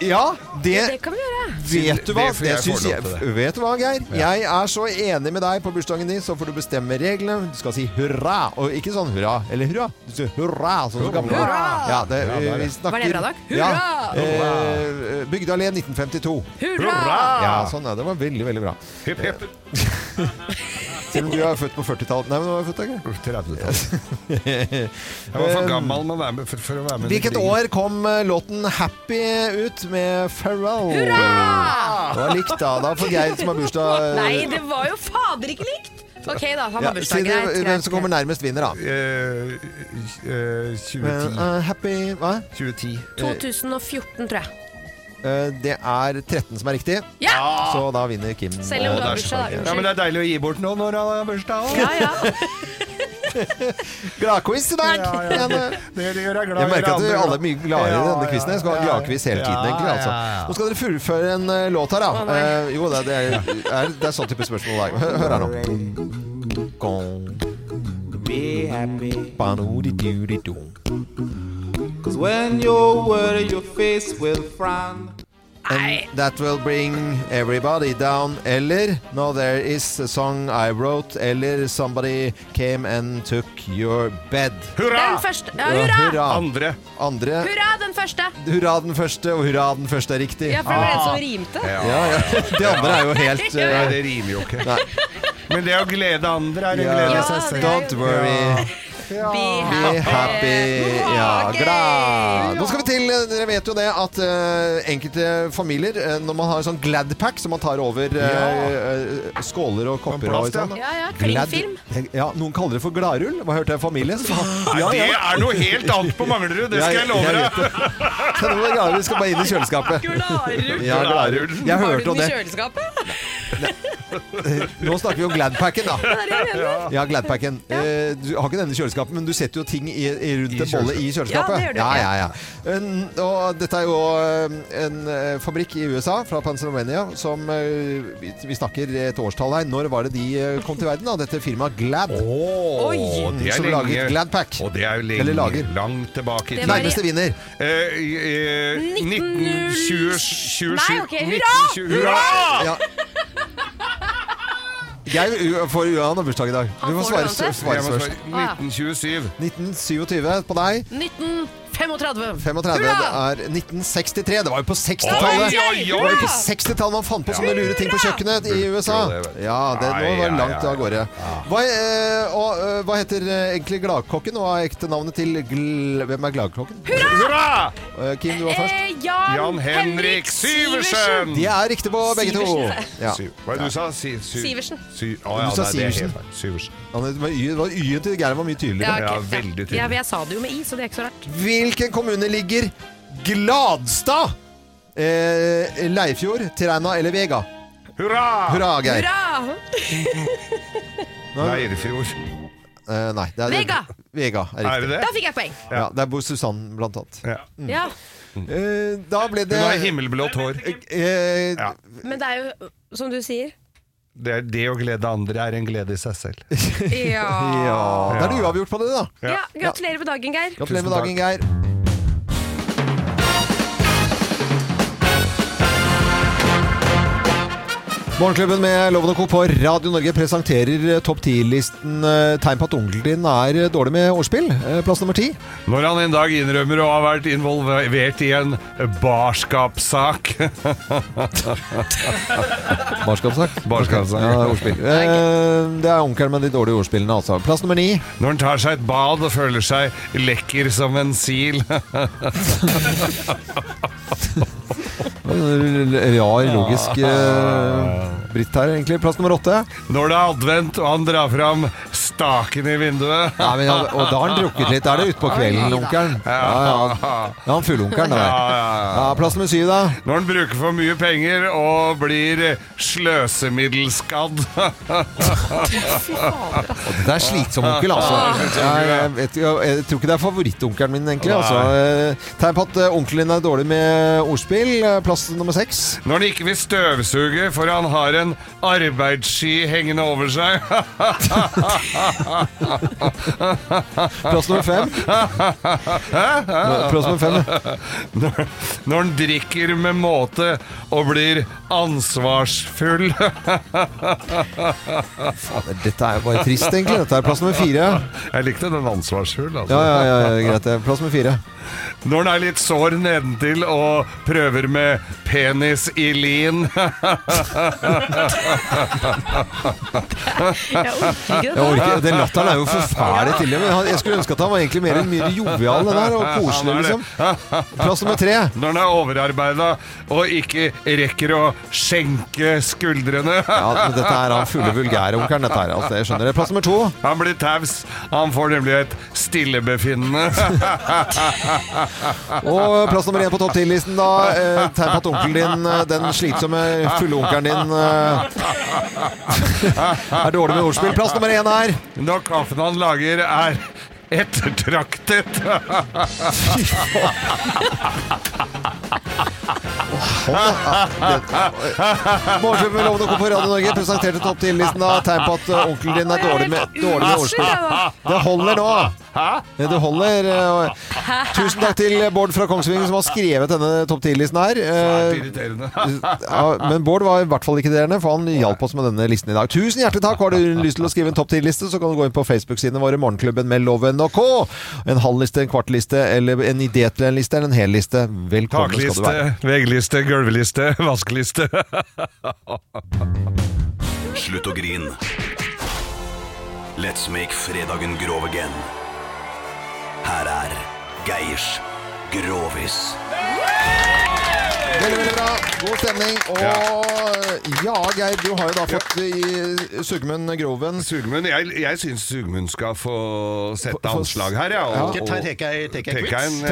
Speaker 4: ja det
Speaker 8: Det kan vi gjøre.
Speaker 4: Vet du hva?
Speaker 5: Det får
Speaker 4: Det
Speaker 5: jeg
Speaker 4: syns
Speaker 5: få lov
Speaker 4: jeg,
Speaker 5: til det.
Speaker 4: vet du hva, Geir? Jeg er så enig med deg på bursdagen din, så får du bestemme reglene. Du skal si hurra, og ikke sånn hurra eller hurra. Du sier hurra, sånn som gamle.
Speaker 8: Hurra!
Speaker 4: Ja, det,
Speaker 8: Ja, det er det.
Speaker 4: vi snakker,
Speaker 8: Var det bra, Dag?
Speaker 4: Ja,
Speaker 8: Hurra!
Speaker 4: eh, Bygdeallé 1952.
Speaker 8: Hurra!
Speaker 4: Ja, sånn er det. Det var veldig, veldig bra.
Speaker 5: Hipp, hipp.
Speaker 4: Selv om du er født på 40-tallet. Nei, men du er født, Geir. 30-tallet.
Speaker 5: Jeg var for gammel med å være med, for, for å være med i
Speaker 4: Um, Hvilket
Speaker 5: krigen.
Speaker 4: år kom eh, låten 'Happy' ut med Pharrell?
Speaker 8: Hurra!
Speaker 4: Det var likt, da. Da får Geir som har bursdag eh,
Speaker 8: Nei, det var jo fader ikke likt! OK, da. Han
Speaker 4: ja,
Speaker 8: har bursdag.
Speaker 4: si det,
Speaker 8: Greit.
Speaker 4: Hvem
Speaker 8: greit,
Speaker 4: som kommer
Speaker 8: greit.
Speaker 4: nærmest, vinner, da.
Speaker 5: Eh, eh, 2010.
Speaker 4: Eh, eh, happy Hva?
Speaker 5: 2010.
Speaker 8: 2014, tror jeg.
Speaker 4: Eh, det er 13 som er riktig,
Speaker 8: Ja!
Speaker 4: så da vinner Kim.
Speaker 8: Ah! Selv om
Speaker 4: eh,
Speaker 8: du har
Speaker 4: bursdag.
Speaker 8: bursdag, da.
Speaker 5: Ja, men det er deilig å gi bort noe når han har bursdag. også.
Speaker 4: eh, Gladquiz i dag!
Speaker 20: Ja, ja.
Speaker 4: Men, eh,
Speaker 20: Det gjør jeg glad
Speaker 4: Jeg merker at
Speaker 20: i.
Speaker 4: dere alle er mye gladere i
Speaker 20: Ja,
Speaker 4: denne quizen. Jeg skal ha
Speaker 20: ja, ja.
Speaker 4: gladquiz hele
Speaker 20: Ja,
Speaker 4: tiden, egentlig. Altså.
Speaker 20: ja, ja.
Speaker 4: Nå skal dere fullføre en eh, låt her, da.
Speaker 20: Å, nei.
Speaker 4: Eh, jo, det er, det, er, er, det er sånn type spørsmål det er. Hør, hør her nå. Gong.
Speaker 21: Be happy,
Speaker 4: Ba-do-di-do-di-do.
Speaker 21: cause when you're worried, your face will frown.
Speaker 4: And that will bring everybody down. Eller No, there is a song I wrote. Eller Somebody came and took your bed.
Speaker 8: Den første. Ja, hurra!
Speaker 4: Andre. Andre.
Speaker 8: Hurra, den første!
Speaker 4: Hurra den første, og hurra den første er riktig. Ah.
Speaker 8: Ja, for det var en som rimte.
Speaker 4: Ja, ja. Det andre er jo helt
Speaker 5: Nei,
Speaker 4: eh,
Speaker 5: det rimer jo ikke.
Speaker 4: Nei.
Speaker 5: Men det å glede andre er å
Speaker 4: Ja,
Speaker 5: glede seg selv.
Speaker 4: Don't worry, be happy. Ja, glad. Nå skal vi til eh, Dere vet jo det at eh, enkelte familier, eh, når man har sånn Gladpack som man tar over eh,
Speaker 20: Ja.
Speaker 4: eh, skåler og kopper og
Speaker 20: Plast, ja.
Speaker 4: sånn.
Speaker 20: Ja, ja,
Speaker 4: Glad- eh,
Speaker 20: klingfilm.
Speaker 4: Ja, noen kaller det for gladrull. Hva hørte jeg? Familie?
Speaker 5: Nei,
Speaker 4: Ja, ja.
Speaker 5: Det er noe helt annet på Manglerud, det skal jeg love
Speaker 4: vet
Speaker 5: deg.
Speaker 4: det. Så nå er det gladrull skal bare inn i kjøleskapet. Ja, gladrull. Jeg hørte om det.
Speaker 8: kjøleskapet?
Speaker 4: Nå snakker vi om Gladpacken, da.
Speaker 8: Ja, det er det jeg mener.
Speaker 4: Ja, Gladpacken. Eh, Du har ikke denne i kjøleskapet, men du setter jo ting i, i rundt en bolle i
Speaker 20: kjøleskapet. Ja,
Speaker 4: kjøleskapet.
Speaker 20: det gjør du.
Speaker 4: ja, ja, ja. En- Og dette er jo eh, en eh, fabrikk i USA, fra Pennsylvania, som eh, Vi vi snakker et årstall her. Når var det de eh, kom til verden, da? Dette firmaet Glad.
Speaker 5: Oi. det er
Speaker 4: Som
Speaker 5: lenge.
Speaker 4: laget Gladpack.
Speaker 5: Og det er jo
Speaker 4: Eller lager.
Speaker 5: lenge, langt tilbake i
Speaker 4: Det
Speaker 5: tid.
Speaker 4: var i- Nærmeste vinner.
Speaker 5: Eh, eh, 1927
Speaker 8: Nei, ok, hurra!
Speaker 5: 1920 Hurra!
Speaker 4: Ja. Jeg u- får u- han har bursdag i dag. Du
Speaker 8: Han
Speaker 4: må
Speaker 8: får
Speaker 4: svare,
Speaker 8: det uansett.
Speaker 4: svare
Speaker 5: Jeg må
Speaker 4: først.
Speaker 5: svare 1927.
Speaker 4: 1927 på deg.
Speaker 8: 1935.
Speaker 4: 35 det
Speaker 8: Hurra!
Speaker 4: er 1963. Det var jo på 60-tallet!
Speaker 8: Oi, oi, oi!
Speaker 4: Det var jo på 60-tallet man fant på sånne lure ting på kjøkkenet i USA. Ja, det, nå var det langt av gårde. Hva, eh, og, eh, hva heter eh, egentlig Gladkokken? Hva er ekte navnet til gl Hvem er Gladkokken?
Speaker 5: Hurra!
Speaker 4: Eh, Kim, du var først.
Speaker 8: Eh, Jan,
Speaker 5: Jan Henrik Syversen!
Speaker 8: Eh,
Speaker 4: De er riktig på begge to.
Speaker 5: Syversen.
Speaker 4: Ja.
Speaker 5: Sy- Hva er det du sa? Sy- sy-
Speaker 8: Syversen.
Speaker 5: Sy- Å, ja,
Speaker 4: Du sa
Speaker 5: nei, det er helt
Speaker 4: Syversen.
Speaker 5: feil. Syversen.
Speaker 4: Ja, det var Y- det var Y-en til Geir var mye tydeligere.
Speaker 8: ok, Ja, men jeg sa det jo med i, så det er ikke så rart.
Speaker 4: Hvilken kommune ligger Gladstad? Eh, Leifjord, Træna eller Vega?
Speaker 5: Hurra!
Speaker 4: Hurra, Geir.
Speaker 8: Hurra!
Speaker 5: Leirfjord.
Speaker 4: Eh, nei, det er
Speaker 8: Vega.
Speaker 4: Vega er,
Speaker 5: Er det det?
Speaker 8: Da fikk jeg poeng.
Speaker 4: Ja. Der bor Susann, blant annet. Mm.
Speaker 8: Ja,
Speaker 4: Eh, da ble det Eh,
Speaker 5: Hun har himmelblått hår. Ja.
Speaker 8: Men det er jo, som du sier
Speaker 5: Det, er det å glede andre er en glede i seg selv.
Speaker 8: Ja.
Speaker 4: Da er det uavgjort på det, da.
Speaker 8: ja gratulerer med dagen, Geir.
Speaker 4: Gratulerer med dagen, Geir. Morgenklubben med Loven og Co. på Radio Norge presenterer eh, topp 10-listen eh, tegn på at onkelen din er eh, dårlig med ordspill. Eh, Plass nummer ti.
Speaker 5: Når han en dag innrømmer å ha vært involvert i en barskapssak
Speaker 4: Barskapssak?
Speaker 5: Barskapssak.
Speaker 4: Ja, ordspill. Eh, Det er onkelen med de dårlige ordspillene, altså. Plass nummer ni.
Speaker 5: Når han tar seg et bad og føler seg lekker som en sil.
Speaker 4: Rar, logisk eh, britt her, egentlig. Plass nummer åtte.
Speaker 5: Når det er advent og han drar fram staken i vinduet.
Speaker 4: Nei, men, han- og da har han drukket litt. Da er det utpå kvelden, onkelen. Ja, ja. ja han fugleonkelen, det der.
Speaker 5: Ja,
Speaker 4: Ja, plass nummer syv, da.
Speaker 5: Når han bruker for mye penger og blir sløsemiddelskadd.
Speaker 4: Det er slitsom onkel, altså. Jeg, jeg, vet, jeg, jeg tror ikke det er favorittonkelen min, egentlig.
Speaker 5: Nei.
Speaker 4: Altså. Eh, Tegn på at eh, onkelen din er dårlig med ordspill. Eh, Plass nummer seks.
Speaker 5: Når han ikke vil støvsuge, for han har en arbeidsski hengende over seg.
Speaker 4: Plass nummer fem. Plass nummer fem,
Speaker 5: Når, når han drikker med måte og blir ansvarsfull.
Speaker 4: Dette er jo bare trist, egentlig. Dette er plass nummer fire.
Speaker 5: Jeg likte den ansvarsfull, altså.
Speaker 4: Ja, ja, ja, ja greit. det. Plass nummer fire.
Speaker 5: Når han er litt sår nedentil og prøver med penis i lin.
Speaker 4: Jeg orker, den latteren er jo for fæl til det. Men han- jeg skulle ønske at han var egentlig mer mer jovial den der, og koselig,
Speaker 5: Han er det.
Speaker 4: liksom. Plass nummer tre.
Speaker 5: Når han er overarbeida og ikke rekker å skjenke skuldrene.
Speaker 4: Ja, men dette er han fulle vulgære onkelen, dette her. Altså, jeg skjønner det. Plass nummer to.
Speaker 5: Han blir taus. Han får nemlig et stillebefinnende.
Speaker 4: Og plass nummer én på topp 10-listen, da. Eh, tegn på at onkelen din, eh, den slitsomme eh, fulle onkelen din, eh, er dårlig med ordspill. Plass nummer én her.
Speaker 5: Når kaffen han lager, er ettertraktet.
Speaker 4: Eh, Morgenklubben med Lovende Co. på Radio Norge presenterte topp 10-listen av tegn på at eh, onkelen din er dårlig med, dårlig med ordspill. Det holder nå. Ja, Det holder. eh, og- Tusen takk til Bård fra Kongsvinger som har skrevet denne topp 10-listen her.
Speaker 5: Svært
Speaker 4: Eh,
Speaker 5: irriterende.
Speaker 4: ja, men Bård var i hvert fall ikke derende, for han hjalp oss med denne listen i dag. Tusen hjertelig takk. Har du lyst til å skrive en topp 10-liste, så kan du gå inn på Facebook-sidene våre, Morgenklubben med Loven og Co. En halv liste, en kvart liste, eller en idé til en liste, eller en hel liste. Velkommen skal du
Speaker 5: Takliste,
Speaker 4: være.
Speaker 5: veggliste, gulvliste, vaskeliste.
Speaker 20: Slutt å grin. Let's make fredagen grov again. Her er Geirs Grovis.
Speaker 4: Veldig, veldig bra. God stemning. Og ja, Geir, du har jo da fått i Sugmund Groven.
Speaker 5: Sugmund, Jeg, jeg syns Sugmund skal få sette
Speaker 4: Få- få-
Speaker 5: anslag her, ja,
Speaker 4: Ja.
Speaker 22: Tar- Tar jeg quiz?
Speaker 5: Tek jeg en, eh, ordentlig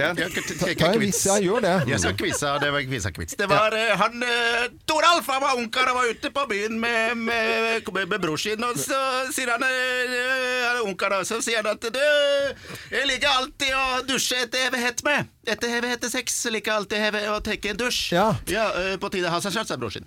Speaker 5: en?
Speaker 4: Ta en quiz, ja, gjør det.
Speaker 22: Jeg skal quize, det var quiz. quiz. Det var eh, han eh, Toralf, han var ungkar, han var ute på byen med, med, med, med bror sin, og så sier han, eh, han er ungkar, og så sier han at du, jeg liker alltid å dusje etter heve hett med. Etter heve hette sex, så liker jeg alltid heve å tenke en dusj. Ja. eh, på tide han seg sjøl, sa bror sin.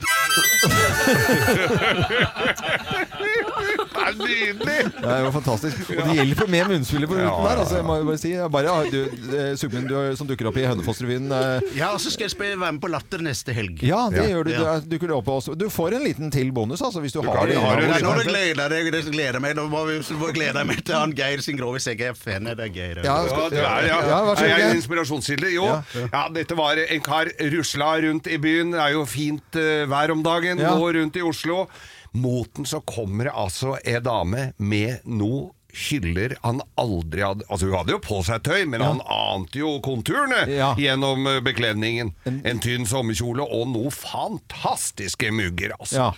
Speaker 5: Det er nydelig!
Speaker 4: Det er jo fantastisk. Og det hjelper med munnspillet på ruten
Speaker 22: Ja, ja,
Speaker 4: der. Altså, jeg må jo bare si jeg bare, du, eh, Sugmund du, som dukker opp i Hønefoss-revyen. eh,
Speaker 22: Ja, og så skal jeg spille, være med på Latter neste helg.
Speaker 4: Ja, det gjør du. Du,
Speaker 22: Ja.
Speaker 4: er- dukker du opp hos oss. Du får en liten til bonus, altså, hvis du,
Speaker 22: Du
Speaker 4: har
Speaker 22: kan-
Speaker 4: det.
Speaker 22: har du-
Speaker 4: innom-
Speaker 22: Nei, nå må du glede deg, det gleder meg. Nå må vi så må jeg glede meg til han Geir sin grovis. Jeg er fan av deg, Geir.
Speaker 5: Ja, du er, ja. er jeg en inspirasjonskilde? Jo.
Speaker 22: Ja.
Speaker 5: Ja. dette var en kar rusla rundt i byen. Det er jo fint eh, vær om dagen.
Speaker 22: Ja.
Speaker 5: Går rundt i Oslo. Moten så kommer det altså ei dame med noe hyller han aldri hadde Altså Hun hadde jo på seg tøy, men han ante jo konturene gjennom eh, bekledningen. En tynn sommerkjole og noe fantastiske mugger, altså.
Speaker 4: Ja.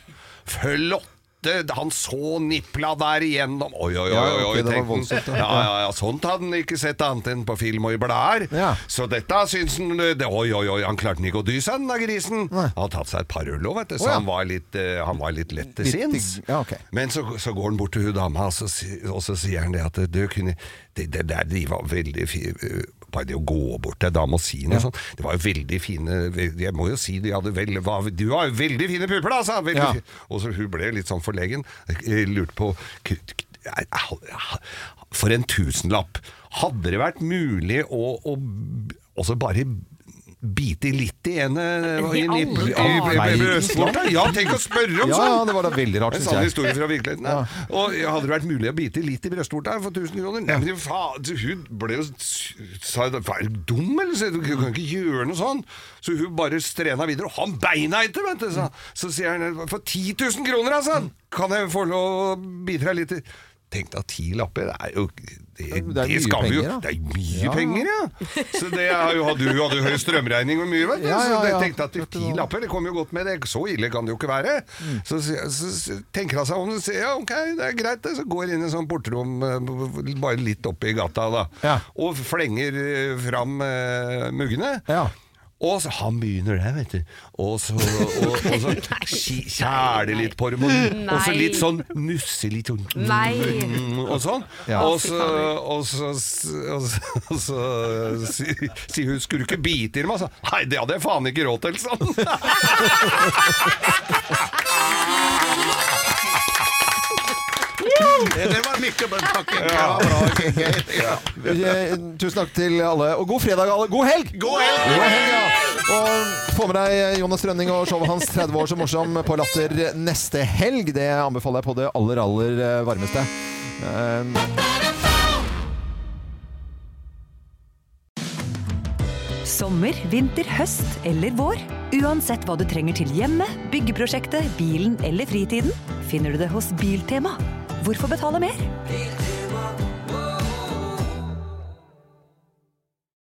Speaker 5: Flotte! Han så nipla der igjennom. Oi, oi, oi!
Speaker 4: Ja,
Speaker 5: oi,
Speaker 4: ok,
Speaker 5: oi
Speaker 4: det var
Speaker 5: tenkte han.
Speaker 4: voldsomt, ja.
Speaker 5: Ja, ja, ja, sånt hadde han ikke sett annet enn på film og i blader. Så dette syns han eh, det, Oi, oi, oi, han klarte ikke å dy seg, den da grisen. Han hadde tatt seg et par øl òg, vet du, så
Speaker 4: Å, ja.
Speaker 5: han, var litt, eh, han var litt lett til
Speaker 4: Litt-
Speaker 5: sinns.
Speaker 4: Ja, ok.
Speaker 5: Men så, så går han bort til hun dama, og så, si- og så sier han det at du kunne Det, det der de var veldig fine Bare det å gå bort til ei dame og si noe sånt Det var jo veldig fine Jeg må jo si de hadde vel, var, Du har jo veldig fine pupper, da, sa han. Veldig
Speaker 4: Ja.
Speaker 5: fi- Og så hun ble litt sånn forlegen. Jeg Lurte på k- k- au, ja, For en tusenlapp! Hadde det vært mulig å, å b- også bare bite litt i ene i,
Speaker 4: I
Speaker 5: i, i,
Speaker 4: alle
Speaker 5: i,
Speaker 4: dager.
Speaker 5: brødsporten? Ja, tenk å spørre om
Speaker 4: Ja,
Speaker 5: sånn!
Speaker 4: ja, det var da veldig rart,
Speaker 5: En
Speaker 4: synes
Speaker 5: sann
Speaker 4: jeg.
Speaker 5: historie fra virkeligheten. ja. Og ja, hadde det vært mulig å bite litt i brystvorta for 1000 kroner? Nei, men faen, hun ble jo sa, Hva er du dum, eller? Så, du kan ikke gjøre noe sånn. Så hun bare strena videre, og han beina etter, vet du! sa han. Så sier han for 10 000 kroner, altså! Kan jeg få lov å bite deg litt i Tenk deg ti lapper, det er jo Det,
Speaker 4: det er mye
Speaker 5: skal vi jo,
Speaker 4: penger, da.
Speaker 5: Det er mye
Speaker 4: Ja.
Speaker 5: penger, ja! Så det er jo, hadde, hun hadde jo høy strømregning og mye, vet du.
Speaker 4: Ja, ja,
Speaker 5: Så
Speaker 4: ja.
Speaker 5: jeg tenkte at ti lapper, det kommer jo godt med det. Så ille kan det jo ikke være. Så, sier- så, så tenker han seg om og sier ja, ok, det er greit. det. Så går inn i en sånn portrom eh, bare litt oppe i gata da, og flenger eh, fram eh, muggene. Og så, han begynner der, vet du. Og så, og, og så ki- kjæle litt på dem. Og, og så
Speaker 11: Nei.
Speaker 5: litt sånn nusse litt sånn
Speaker 11: Nei.
Speaker 5: Og sånn.
Speaker 11: Ja.
Speaker 5: Og så, og så, og så, og så sier sier hun 'skulle du ikke bite i dem', altså. Nei, det hadde jeg faen ikke råd til, sa
Speaker 22: Det var mye, men takk. Ja, bra, Geir. Ja.
Speaker 4: Eh, Tusen takk til alle, og god fredag, alle. God helg! God helg! ja. Og få med deg eh, Jonas Rønning og showet hans 30 år så morsom på Latter neste helg. Det anbefaler jeg på det aller, aller eh, varmeste. Eh,
Speaker 23: Sommer, vinter, høst eller vår. Uansett hva du trenger til hjemmet, byggeprosjektet, bilen eller fritiden, finner du det hos Biltema. Hvorfor betale mer? Biltema!